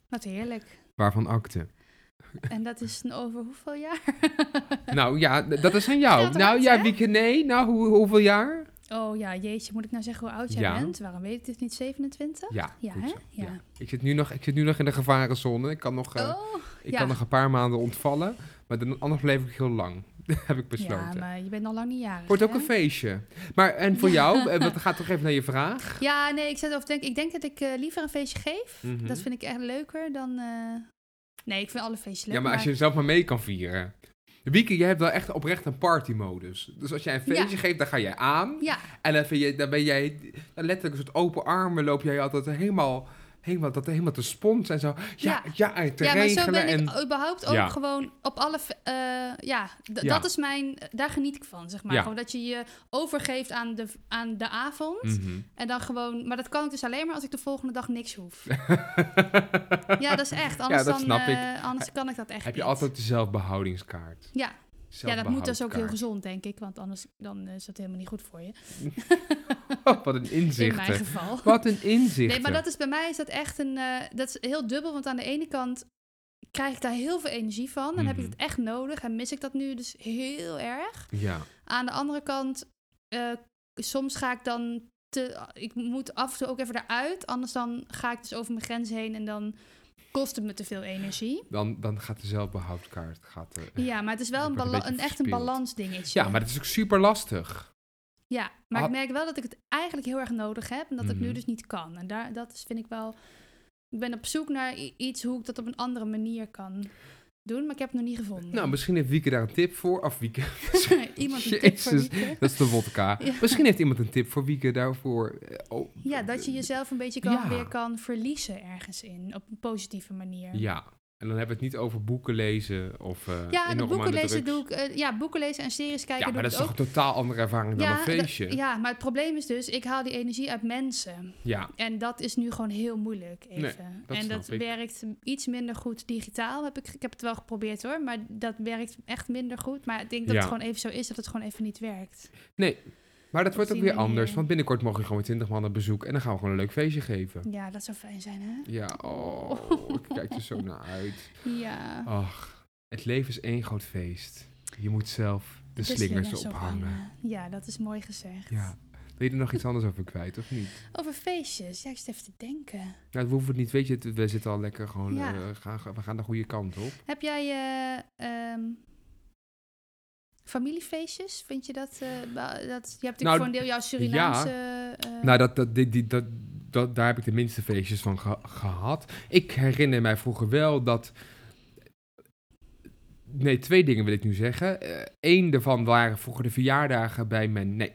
B: Wat heerlijk.
C: Waarvan akte?
B: En dat is een over hoeveel jaar?
C: nou ja, d- dat is aan jou.
B: Gaat
C: nou
B: hard,
C: ja,
B: hè?
C: Wieke, nee. Nou, hoe, hoeveel jaar?
B: Oh ja, jeetje, moet ik nou zeggen hoe oud jij
C: Ja.
B: bent? Waarom weet ik dit niet? 27?
C: Ja,
B: Ja,
C: goed
B: hè?
C: zo.
B: Ja.
C: Ik, zit nu nog, ik zit nu nog in de gevarenzone. Ik kan nog, eh,
B: oh,
C: ik
B: ja.
C: kan nog een paar maanden ontvallen. Maar dan, anders bleef ik heel lang. heb ik besloten.
B: ja, maar je bent al lang niet jarig.
C: Wordt ook
B: hè?
C: een feestje. Maar en voor
B: Ja.
C: jou, eh, want gaat toch even naar je vraag.
B: Ja, nee, ik zat over te denken. Ik denk dat ik eh, liever een feestje geef.
C: Mhm.
B: Dat vind ik echt leuker dan... eh, Nee, ik vind alle feestjes leuk.
C: ja, maar als je zelf maar mee kan vieren. Wieke, jij hebt wel echt oprecht een partymodus. Dus als jij een feestje geeft, dan ga jij aan.
B: Ja,
C: En dan, vind je, dan ben jij dan letterlijk een soort open armen loop jij altijd helemaal, helemaal, dat, helemaal te spons en zo. Ja,
B: Ja.
C: ja, en te
B: ja maar
C: regelen.
B: zo ben
C: en,
B: ik überhaupt ook
C: Ja.
B: gewoon op alle... fe- eh, ja, d-
C: Ja.
B: dat is mijn... Daar geniet ik van, zeg maar.
C: Ja.
B: Gewoon dat je je overgeeft aan de, aan de avond.
C: Mhm.
B: En dan gewoon... Maar dat kan ik dus alleen maar als ik de volgende dag niks hoef. ja, dat is echt. Anders,
C: dat
B: dan,
C: snap ik.
B: eh, anders kan ik dat echt
C: Heb je
B: niet.
C: altijd de zelfbehoudingskaart?
B: Ja, ja, dat moet dus ook heel
C: Zelfbehoudkaart.
B: gezond, denk ik. Want anders dan eh, is dat helemaal niet goed voor je.
C: Wat een
B: In mijn
C: inzicht.
B: geval.
C: Wat een inzicht.
B: Nee, maar dat is bij mij is dat echt een. eh, dat is heel dubbel. Want aan de ene kant krijg ik daar heel veel energie van. En heb ik
C: Mhm.
B: het echt nodig. En mis ik dat nu dus heel erg.
C: Ja.
B: Aan de andere kant, eh, soms ga ik dan. Te, ik moet af en toe ook even eruit. Anders dan ga ik dus over mijn grens heen. En dan kost het me te veel energie.
C: Dan, dan gaat de zelfbehoudkaart. Gaat, eh,
B: Ja, maar het is wel
C: Ik
B: een,
C: word een
B: bala-
C: beetje
B: een echt een
C: verspild.
B: balansdingetje.
C: Ja, maar dat is ook super lastig.
B: Ja, maar ik
C: Ah.
B: merk wel dat ik het eigenlijk heel erg nodig heb en dat ik nu
C: Mhm.
B: dus niet kan. En daar, dat is, vind ik wel. Ik ben op zoek naar i- iets hoe ik dat op een andere manier kan doen, maar ik heb het nog niet gevonden.
C: Nou, misschien heeft Wieke daar een tip voor. Of Wieke.
B: iemand een tip voor
C: Jezus,
B: Wieke.
C: Dat is de wodka.
B: Ja.
C: Misschien heeft iemand een tip voor Wieke daarvoor. Eh, Oh,
B: Ja, dat je jezelf een beetje kan,
C: Ja.
B: weer kan verliezen ergens in, op een positieve manier.
C: Ja. En dan hebben we het niet over boeken lezen of. eh,
B: Ja, en de
C: enorm aan
B: boeken lezen
C: drugs.
B: doe ik, eh, ja, boeken lezen en series kijken
C: Ja,
B: doe
C: maar dat
B: ik
C: is toch
B: ook.
C: een totaal andere ervaring dan
B: ja,
C: een
B: dat-
C: feestje. ja.
B: ja, maar het probleem is dus, ik haal die energie uit mensen. En dat is nu gewoon heel moeilijk even.
C: dat
B: en
C: snap
B: dat
C: ik.
B: werkt iets minder goed digitaal. Heb ik, ik heb het wel geprobeerd hoor, maar dat werkt echt minder goed. Maar ik denk dat het
C: Ja.
B: gewoon even zo is dat het gewoon even niet werkt.
C: Nee. Maar dat wordt
B: Op
C: ook
B: die
C: weer anders.
B: manier.
C: Want binnenkort mogen we gewoon 20 man op bezoek. En dan gaan we gewoon een leuk feestje geven.
B: Ja, dat zou fijn zijn hè?
C: Ja, oh. ik kijk er zo naar uit. Oh,
B: Ja.
C: Ach, het leven is één groot feest. Je moet zelf de,
B: De
C: slingers,
B: ophangen.
C: ophangen.
B: Ja, dat is mooi gezegd.
C: Ja. Wil je er nog iets anders over kwijt, of niet?
B: Over feestjes, ja, ik zit even te denken.
C: Nou, we hoeven het niet, weet je, het- we zitten al lekker gewoon,
B: Ja.
C: eh, gaan, we gaan de goede kant op.
B: Heb jij eh, ehm, familiefeestjes? Vind je dat, eh, wel- dat? Je hebt natuurlijk
C: Nou,
B: voor een deel jouw Surinaamse. eh,
C: Nou, dat, dat, Nou, die, die, dat, dat, daar heb ik de minste feestjes van geha- gehad. Ik herinner mij vroeger wel dat. Nee, twee dingen wil ik nu zeggen. Eén daarvan waren vroeger de verjaardagen bij mijn. Nee,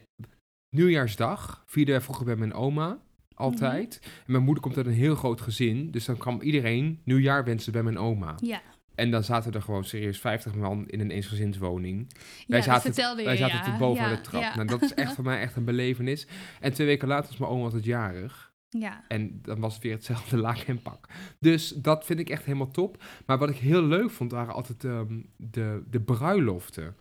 C: nieuwjaarsdag. Vierde wij vroeger bij mijn oma. Altijd.
B: Mhm.
C: En mijn moeder komt uit een heel groot gezin. Dus dan kwam iedereen nieuwjaar wensen bij mijn oma.
B: Ja.
C: En dan zaten er gewoon serieus 50 man in een eensgezinswoning.
B: ja, dat
C: zaten-
B: vertelde
C: Wij
B: je,
C: zaten
B: ja.
C: toen boven
B: Ja,
C: de trap.
B: Ja,
C: Nou, dat is echt voor mij echt een belevenis. En twee weken later was mijn oom altijd jarig.
B: ja.
C: En dan was het weer hetzelfde laak en pak. Dus dat vind ik echt helemaal top. Maar wat ik heel leuk vond, waren altijd ehm, de, de bruiloften.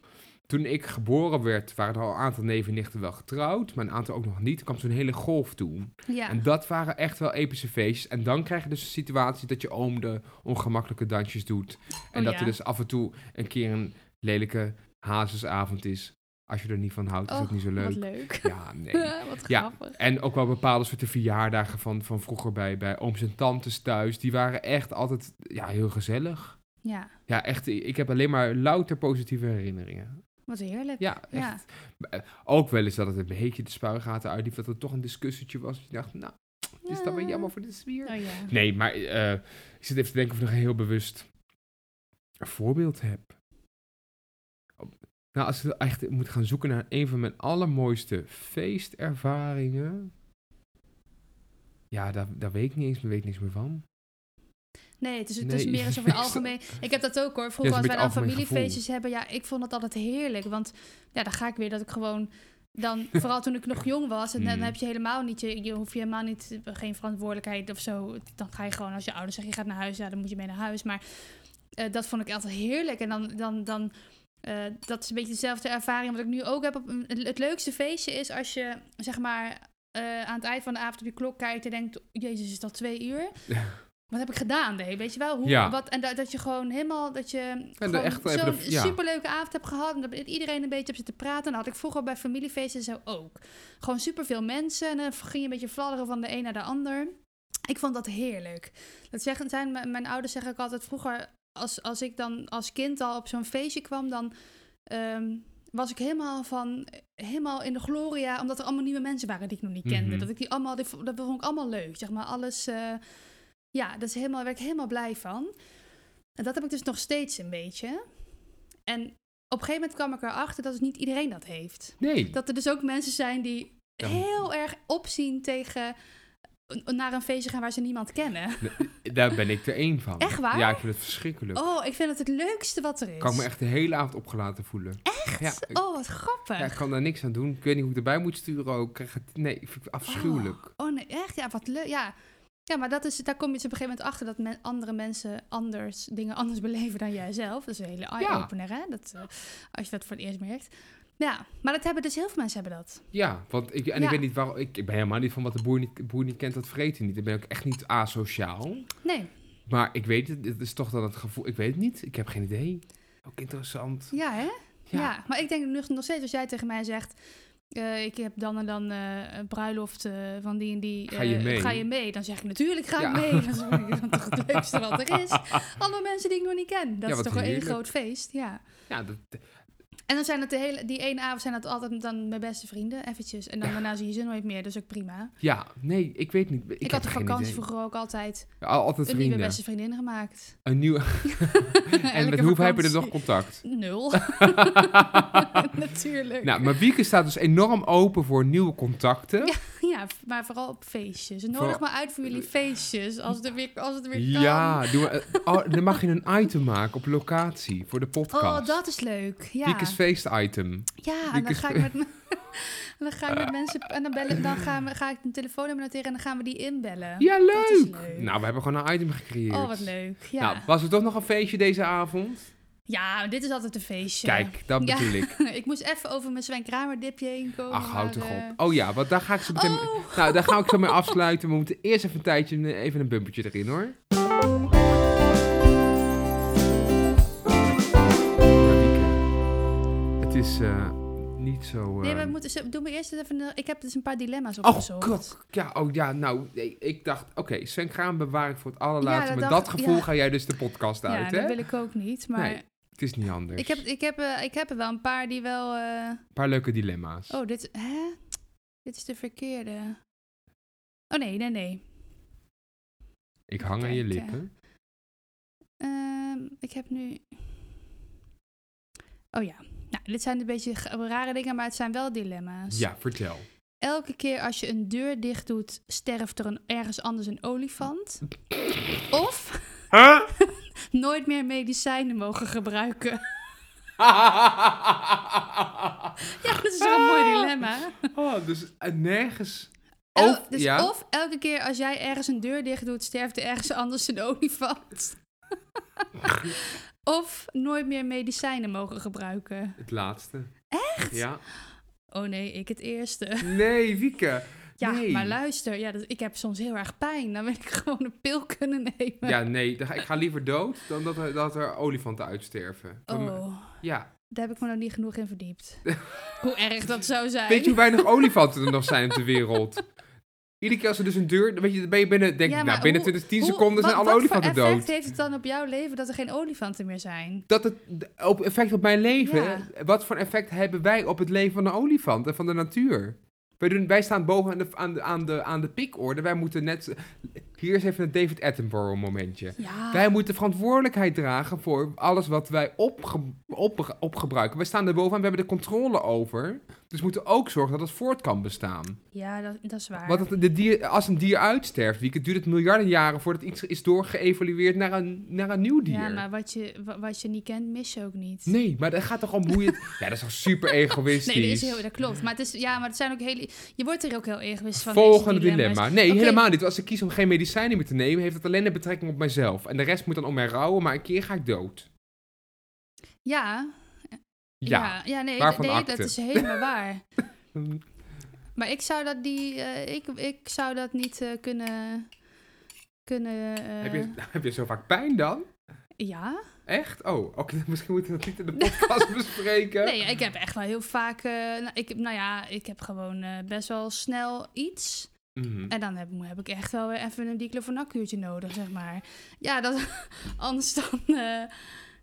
C: Toen ik geboren werd, waren er al een aantal neven en nichten wel getrouwd. Maar een aantal ook nog niet. Er kwam zo'n hele golf toe.
B: ja.
C: En dat waren echt wel epische feestjes. En dan krijg je dus de situatie dat je oom de ongemakkelijke dansjes doet. En
B: Oh,
C: dat
B: ja.
C: er dus af en toe een keer een lelijke hazesavond is. Als je er niet van houdt, is dat
B: Och,
C: niet zo leuk.
B: Oh, Wat leuk.
C: Ja, nee.
B: wat
C: Ja.
B: grappig.
C: En ook wel bepaalde soorten verjaardagen van, van vroeger bij, bij ooms en tantes thuis. Die waren echt altijd ja, heel gezellig.
B: Ja,
C: Ja, echt. Ik heb alleen maar louter positieve herinneringen.
B: wat heerlijk.
C: Ja, echt.
B: Ja.
C: Ook wel eens dat het een beetje de spuigaten uitliep. Dat er toch een discussietje was. Je dacht, nou, het is dat wel
B: Ja.
C: jammer voor de sfeer.
B: Oh ja.
C: Nee, maar eh, ik zit even te denken of ik nog een heel bewust een voorbeeld heb. Nou, als ik echt moet gaan zoeken naar een van mijn allermooiste feestervaringen. Ja, daar, daar weet ik niet eens, daar weet ik niks meer van.
B: Nee, het is, het
C: Nee,
B: is meer een soort van algemeen. Ik heb dat ook hoor. Vroeger
C: Ja, het
B: als wij
C: is een
B: dan
C: beetje algemeen
B: familiefeestjes hebben, ja, ik vond dat altijd heerlijk. Want ja, dan ga ik weer dat ik gewoon. Dan, vooral toen ik nog jong was, en dan
C: Mm.
B: heb je helemaal niet, je, je hoef je helemaal niet, geen verantwoordelijkheid of zo. Dan ga je gewoon, als je ouders zeggen, je gaat naar huis, ja, dan moet je mee naar huis. Maar eh, dat vond ik altijd heerlijk. En dan, dan, dan eh, dat is een beetje dezelfde ervaring wat ik nu ook heb. Op, een- het, het leukste feestje is als je, zeg maar, eh, aan het eind van de avond op je klok kijkt en denkt, jezus, is dat twee uur? Wat heb ik gedaan, nee? Weet je wel? Hoe,
C: Ja.
B: wat, en dat, dat je gewoon helemaal, dat je
C: de
B: gewoon
C: echte-
B: zo'n
C: de- ja.
B: superleuke avond hebt gehad. En dat iedereen een beetje op zit te praten. En dat had ik vroeger bij familiefeesten zo ook. Gewoon superveel mensen. En dan ging je een beetje fladderen van de een naar de ander. Ik vond dat heerlijk. Dat zeggen, zijn, mijn, mijn ouders zeggen ook altijd vroeger... Als, als ik dan als kind al op zo'n feestje kwam, dan ehm, was ik helemaal van helemaal in de gloria, omdat er allemaal nieuwe mensen waren die ik nog niet kende.
C: Mhm.
B: Dat ik die allemaal, die vo- dat vond ik allemaal leuk, zeg maar. Alles, eh, ja, dat is helemaal, daar werd ik helemaal blij van. En dat heb ik dus nog steeds een beetje. En op een gegeven moment kwam ik erachter dat dus niet iedereen dat heeft.
C: Nee.
B: Dat er dus ook mensen zijn die
C: Ja.
B: heel erg opzien tegen eh, naar een feestje gaan waar ze niemand kennen.
C: Daar ben ik er één van.
B: Echt waar?
C: Ja, ik vind het verschrikkelijk.
B: Oh, ik vind het het leukste wat er is.
C: Ik kan me echt de hele avond opgelaten voelen. Echt? Ja, ik,
B: Oh, wat grappig.
C: ja, ik kan daar niks aan doen. Ik weet niet hoe ik erbij moet sturen ook. Ik krijg het- Nee, ik vind het afschuwelijk.
B: Oh, oh nee, echt? Ja, wat leuk. Ja. ja, maar dat is, daar kom je dus op een gegeven moment achter dat men, andere mensen anders, dingen anders beleven dan jijzelf. Dat is een hele eye-opener, hè? Dat, eh, als je dat voor het eerst merkt. Ja, maar dat hebben dus heel veel mensen hebben dat.
C: Ja, want ik, en
B: Ja.
C: ik weet niet waarom. Ik, ik ben helemaal niet van wat de boer niet, boer niet kent, dat vreet hij niet. Ik ben ook echt niet asociaal.
B: Nee,
C: Maar ik weet het, het is toch dan het gevoel. Ik weet het niet, ik heb geen idee. Ook interessant.
B: ja, hè? Ja.
C: Ja.
B: maar ik denk nog nog steeds als jij tegen mij zegt... eh, ik heb dan en dan eh, een bruiloft eh, van die en die.
C: Ga je
B: eh,
C: mee?
B: Ga je mee? Dan zeg ik natuurlijk ga
C: Ja.
B: ik mee. Dat is natuurlijk toch het leukste wat er is. Allemaal mensen die ik nog niet ken. Dat
C: Ja,
B: is
C: wat
B: toch wel één
C: heerlijk.
B: groot feest. Ja.
C: Ja, dat,
B: En dan zijn het de hele, die ene avond zijn dat altijd dan mijn beste vrienden, eventjes. En dan daarna zie je ze nooit meer, dus ook prima.
C: ja nee, ik weet niet. Ik,
B: Ik,
C: heb
B: had de
C: geen
B: vakantie
C: idee.
B: vroeger ook altijd
C: Ja, al- altijd
B: een nieuwe
C: vrienden.
B: beste vriendin gemaakt.
C: Een nieuwe. en met
B: Elke
C: hoeveel heb je er nog
B: vakantie.
C: contact?
B: Nul. Natuurlijk.
C: Nou, maar Wieke staat dus enorm open voor nieuwe contacten.
B: Ja, ja, maar vooral op feestjes. Nodig
C: Vooral- Eh,
B: maar uit voor jullie feestjes, als het er weer, als het er weer kan.
C: Ja, doen we, eh, oh, dan mag je een item maken op locatie voor de podcast.
B: Oh, dat is leuk. Ja, Oh,
C: Wieke's feest-item.
B: ja en dan
C: Wieke's-
B: ga ik met... en Dan ga ik met mensen en dan, bellen, dan gaan we, ga ik een telefoonnummer noteren en dan gaan we die inbellen.
C: Ja, leuk.
B: Dat is leuk.
C: Nou, we hebben gewoon een item gecreëerd.
B: oh, wat leuk. Ja.
C: Nou, was er toch nog een feestje deze avond?
B: Ja, dit is altijd een feestje.
C: Kijk, dat
B: Ja.
C: bedoel ik.
B: Ik moest even over mijn Sven Kramer dipje heen komen.
C: Ach, houd toch
B: maar, eh,
C: op. Oh ja, want daar ga ik zo meteen...
B: Oh.
C: Nou, daar ga ik zo mee afsluiten. We moeten eerst even een tijdje even een bumpertje erin, hoor. Ja, Wieke, Het is eh, niet zo... eh,
B: Nee, we moeten, ze- doen we eerst eens even... een- Ik heb dus een paar dilemma's
C: Oh,
B: opgezocht.
C: kok. Ja, oh ja, nou, nee, ik dacht, oké, Sven Kraan bewaar ik voor het allerlaatste.
B: Ja, dat
C: Met
B: dacht-
C: dat gevoel
B: ja.
C: ga jij dus de podcast
B: Ja,
C: uit,
B: dat
C: hè?
B: wil ik ook niet. Maar
C: Nee, dus- Het is niet anders.
B: ik, heb, ik, heb, eh, ik heb er wel een paar die wel... eh,
C: Een paar leuke dilemma's.
B: Oh, dit... Hè? Dit is de verkeerde. Oh nee, nee, nee.
C: Ik hang aan je
B: Kijken.
C: lippen.
B: Ehm, ik heb nu. Oh ja. Nou, dit zijn een beetje g- rare dingen, maar het zijn wel dilemma's.
C: Ja, vertel.
B: Elke keer als je een deur dicht doet, sterft er een, ergens anders een olifant. Of nooit meer medicijnen mogen gebruiken. Ja, dat is wel een mooi dilemma.
C: Oh, dus eh, nergens.
B: El-
C: Of-
B: dus
C: ja.
B: of elke keer als jij ergens een deur dicht doet, sterft er ergens anders een olifant. of nooit meer medicijnen mogen gebruiken.
C: Het laatste. Echt? Ja.
B: Oh nee, ik het eerste.
C: Nee, Wieke.
B: Ja,
C: nee.
B: maar luister, ja, dat, ik heb soms heel erg pijn. Dan wil ik gewoon een pil kunnen nemen.
C: Ja, nee. dan ga- Ik ga liever dood dan dat er, dat er olifanten uitsterven. Dan-
B: Oh,
C: Ja.
B: daar heb ik me nog niet genoeg in verdiept. hoe erg dat zou zijn.
C: Weet je hoe weinig olifanten er nog zijn op de wereld? Iedere keer als er dus een deur... Weet je, dan ben je binnen... Denk
B: Ja,
C: ik, nou,
B: maar
C: binnen
B: hoe-
C: 20, 10
B: hoe-
C: seconden zijn
B: wat-
C: alle olifanten
B: Wat voor effect
C: dood.
B: heeft het dan op jouw leven dat er geen olifanten meer zijn?
C: Dat het d- op effect op mijn leven...
B: Ja.
C: Wat voor effect hebben wij op het leven van de olifant en van de natuur? Wij, doen, wij staan boven aan de, aan, de, aan, de, aan de pikorde. Wij moeten net... Hier is even een David Attenborough momentje.
B: Ja.
C: Wij moeten verantwoordelijkheid dragen voor alles wat wij opge- op- opgebruiken. Wij staan er bovenaan, we hebben de controle over. Dus we moeten ook zorgen dat het voort kan bestaan.
B: Ja, dat, dat is waar.
C: Want het, de dier, als een dier uitsterft, Wieke, duurt het miljarden jaren voordat iets is doorgeëvalueerd naar een, naar een nieuw dier.
B: Ja, maar wat je, wa- wat je niet kent, mis je ook niet.
C: Nee, maar dat gaat toch om hoe je... het- ja, dat is toch super egoïstisch.
B: Nee, dat, is heel, dat klopt. Maar, het is, ja, maar het zijn ook hele, je wordt er ook heel egoïst van.
C: Volgende
B: deze dilemma's.
C: dilemma. Nee,
B: Oké,
C: helemaal niet. Als ik kies om geen medicijnen meer te nemen, heeft dat alleen een betrekking op mijzelf. En de rest moet dan om mij rouwen, maar een keer ga ik dood.
B: Ja,
C: Ja.
B: ja, ja nee,
C: Waarvan
B: nee dat
C: akte?
B: is helemaal waar. Maar ik zou dat, die, eh, ik, ik zou dat niet eh, kunnen... kunnen eh,
C: Heb, je, heb je zo vaak pijn dan?
B: Ja?
C: Echt? Oh, oké. Misschien moeten we dat niet in de podcast bespreken.
B: Nee, ik heb echt wel heel vaak... eh, nou, ik, nou ja, ik heb gewoon eh, best wel snel iets.
C: Mhm.
B: En dan heb, heb ik echt wel weer even een diclofenac-kuurtje nodig, zeg maar. Ja, dat, anders dan... eh,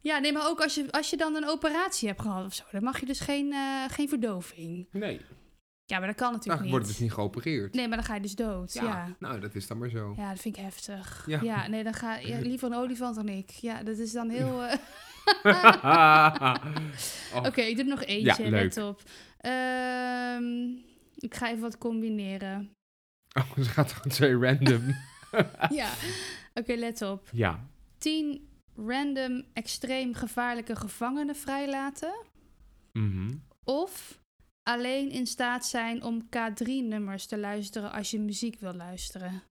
B: ja, nee, maar ook als je, als je dan een operatie hebt gehad of zo... dan mag je dus geen, eh, geen verdoving.
C: Nee.
B: Ja, maar dat kan
C: Nou,
B: natuurlijk
C: ik
B: niet.
C: word dus niet geopereerd.
B: Nee, maar dan ga je dus dood, ja. ja.
C: Nou, dat is dan maar zo.
B: dat vind ik heftig.
C: Ja.
B: Ja, nee, dan ga ja, liever een olifant dan ik. Ja, dat is dan heel... eh,
C: Oh.
B: Oké, ik doe er nog eentje,
C: Ja,
B: let op. Ehm, ik ga even wat combineren.
C: Oh, ze gaat gewoon twee random.
B: ja, oké, let op.
C: ja.
B: 10 random extreem gevaarlijke gevangenen vrijlaten.
C: Mhm.
B: Of alleen in staat zijn om K3-nummers te luisteren als je muziek wil luisteren.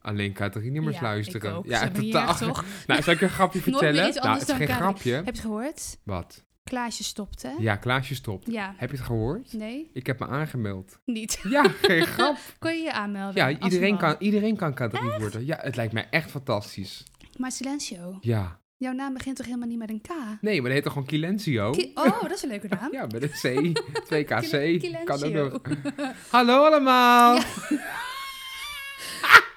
C: Alleen Catherine nummers
B: Ja,
C: luisteren.
B: ik ook.
C: Ja,
B: Ze hebben hier echt toch?
C: Nou, zal ik je een grapje
B: Nooit meer
C: vertellen?
B: iets
C: nou,
B: anders
C: het is geen
B: dan Catherine.
C: grapje.
B: Heb je het gehoord?
C: Wat?
B: Klaasje stopt, hè?
C: Ja, Klaasje stopt.
B: Ja.
C: Heb je het gehoord?
B: Nee,
C: Ik heb me aangemeld.
B: niet.
C: Ja, geen grap.
B: Kon je je aanmelden?
C: Ja,
B: als
C: iedereen
B: man?
C: kan, iedereen kan Catherine worden. Ja, het lijkt mij echt fantastisch.
B: Maar Silencio,
C: Ja.
B: jouw naam begint toch helemaal niet met een K?
C: Nee, maar dat heet toch gewoon Kilensio?
B: Ki- oh, dat is een leuke naam.
C: Oh. Ja, met een C. 2KC.
B: Kil-
C: Kan ook
B: Kilensio.
C: nog. Hallo allemaal!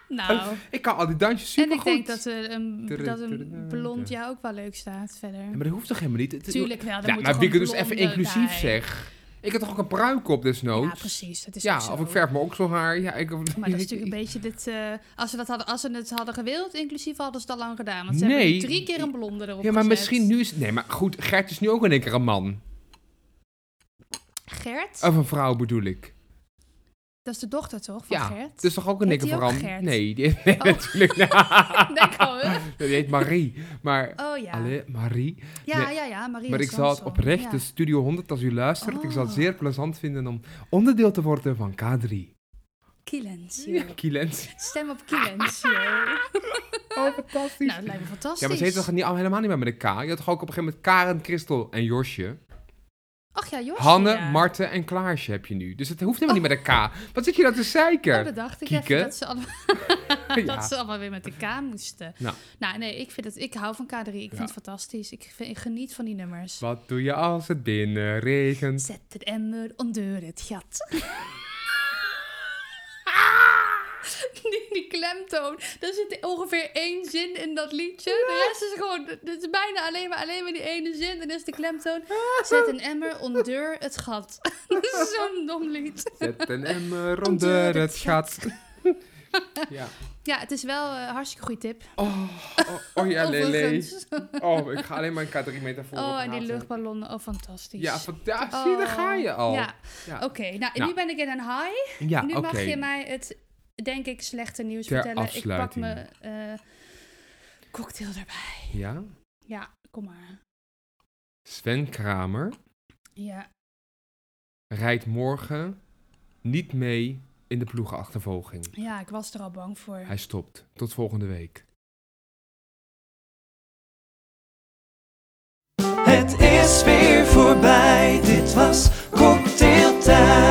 B: Nou,
C: Ik kan al die dansjes
B: en
C: supergoed.
B: ik denk dat, eh, een,
C: Tudu,
B: dat
C: tudu,
B: een blond
C: tudu.
B: jou ook wel leuk staat
C: Ja,
B: verder.
C: maar dat hoeft toch helemaal niet? Het-
B: Tuurlijk wel, dan
C: Ja,
B: moet
C: maar
B: er
C: Wieke,
B: gewoon
C: dus even
B: blonde
C: inclusief
B: bij.
C: zeg. Ik had toch ook een pruik op
B: Ja,
C: desnoods?
B: precies. Dat is
C: Ja,
B: ook zo. Oh,
C: of ik verf mijn okselhaar. Ja, ik,
B: Maar dat is natuurlijk een beetje dit... eh, als, we dat hadden, als ze het hadden gewild, inclusief, hadden ze dat al lang gedaan. Want ze
C: Nee.
B: hebben nu drie keer een blonde erop
C: Ja, maar
B: gezet.
C: misschien nu is... Nee, maar goed, Gert is nu ook in één keer een man.
B: Gert,
C: Of een vrouw bedoel ik.
B: dat is de dochter toch, van
C: ja,
B: Gert?
C: dus toch ook in één
B: Heet
C: keer
B: die ook
C: veranderd?
B: Gert?
C: Nee, die, nee
B: Oh.
C: natuurlijk niet.
B: Denk al, hè?
C: Die heet Marie. Maar...
B: Oh ja.
C: Allee, Marie.
B: Ja,
C: nee.
B: ja, ja, Maria
C: Maar ik zal het
B: Samson.
C: oprecht, dus-
B: Ja.
C: de Studio 100, als u luistert, ik zal het
B: Oh.
C: zeer plezant vinden om onderdeel te worden van K3.
B: Kilensio.
C: Ja, Kilens.
B: Stem op Kilensio.
C: Oh, fantastisch.
B: nou, dat lijkt me fantastisch.
C: Ja, maar ze heet toch niet, oh, helemaal niet meer met een K? Je had toch ook op een gegeven moment Karen, Christel en Josje?
B: Ach ja, Josje,
C: Hanne,
B: ja.
C: Marten en Klaasje heb je nu. Dus het hoeft helemaal niet met een K. Wat zit je nou te zeiken?
B: Oh, dat dacht ik
C: Kieke.
B: even, dat ze, allemaal,
C: Ja.
B: dat ze allemaal weer met de K moesten.
C: Nou.
B: nee, ik, vind het, ik hou van K3. Ik vind het fantastisch. Ik, vind- ik geniet van die nummers.
C: Wat doe je als het binnen regent?
B: Zet het emmer onder het gat. Die, die klemtoon. Er zit ongeveer één zin in dat liedje. De rest is gewoon... Het is bijna alleen maar, alleen maar die ene zin. En is de klemtoon. Zet een emmer onder het gat. Dat is zo'n dom lied.
C: Zet een emmer onder het gat. ja.
B: Ja, het is wel eh, een hartstikke goede tip.
C: Oh, oh, oh ja, Lele.
B: Overigens.
C: Oh, ik ga alleen maar een K3 metafoor
B: Oh, en die
C: praten.
B: luchtballonnen. Oh, fantastisch.
C: Ja, fantastisch. Daar ga je al.
B: Oh, Ja,
C: Ja.
B: oké. Nou,
C: Nou.
B: nu ben ik in een high.
C: Ja,
B: nu
C: oké.
B: mag je mij het, denk ik, slechte nieuws
C: Ter
B: vertellen.
C: afsluiting.
B: Ik pak mijn eh, cocktail erbij.
C: Ja,
B: Ja, kom maar.
C: Sven Kramer
B: Ja.
C: rijdt morgen niet mee in de ploegenachtervolging.
B: ja, ik was er al bang voor.
C: Hij stopt. Tot volgende week.
A: Het is weer voorbij, dit was cocktailtijd.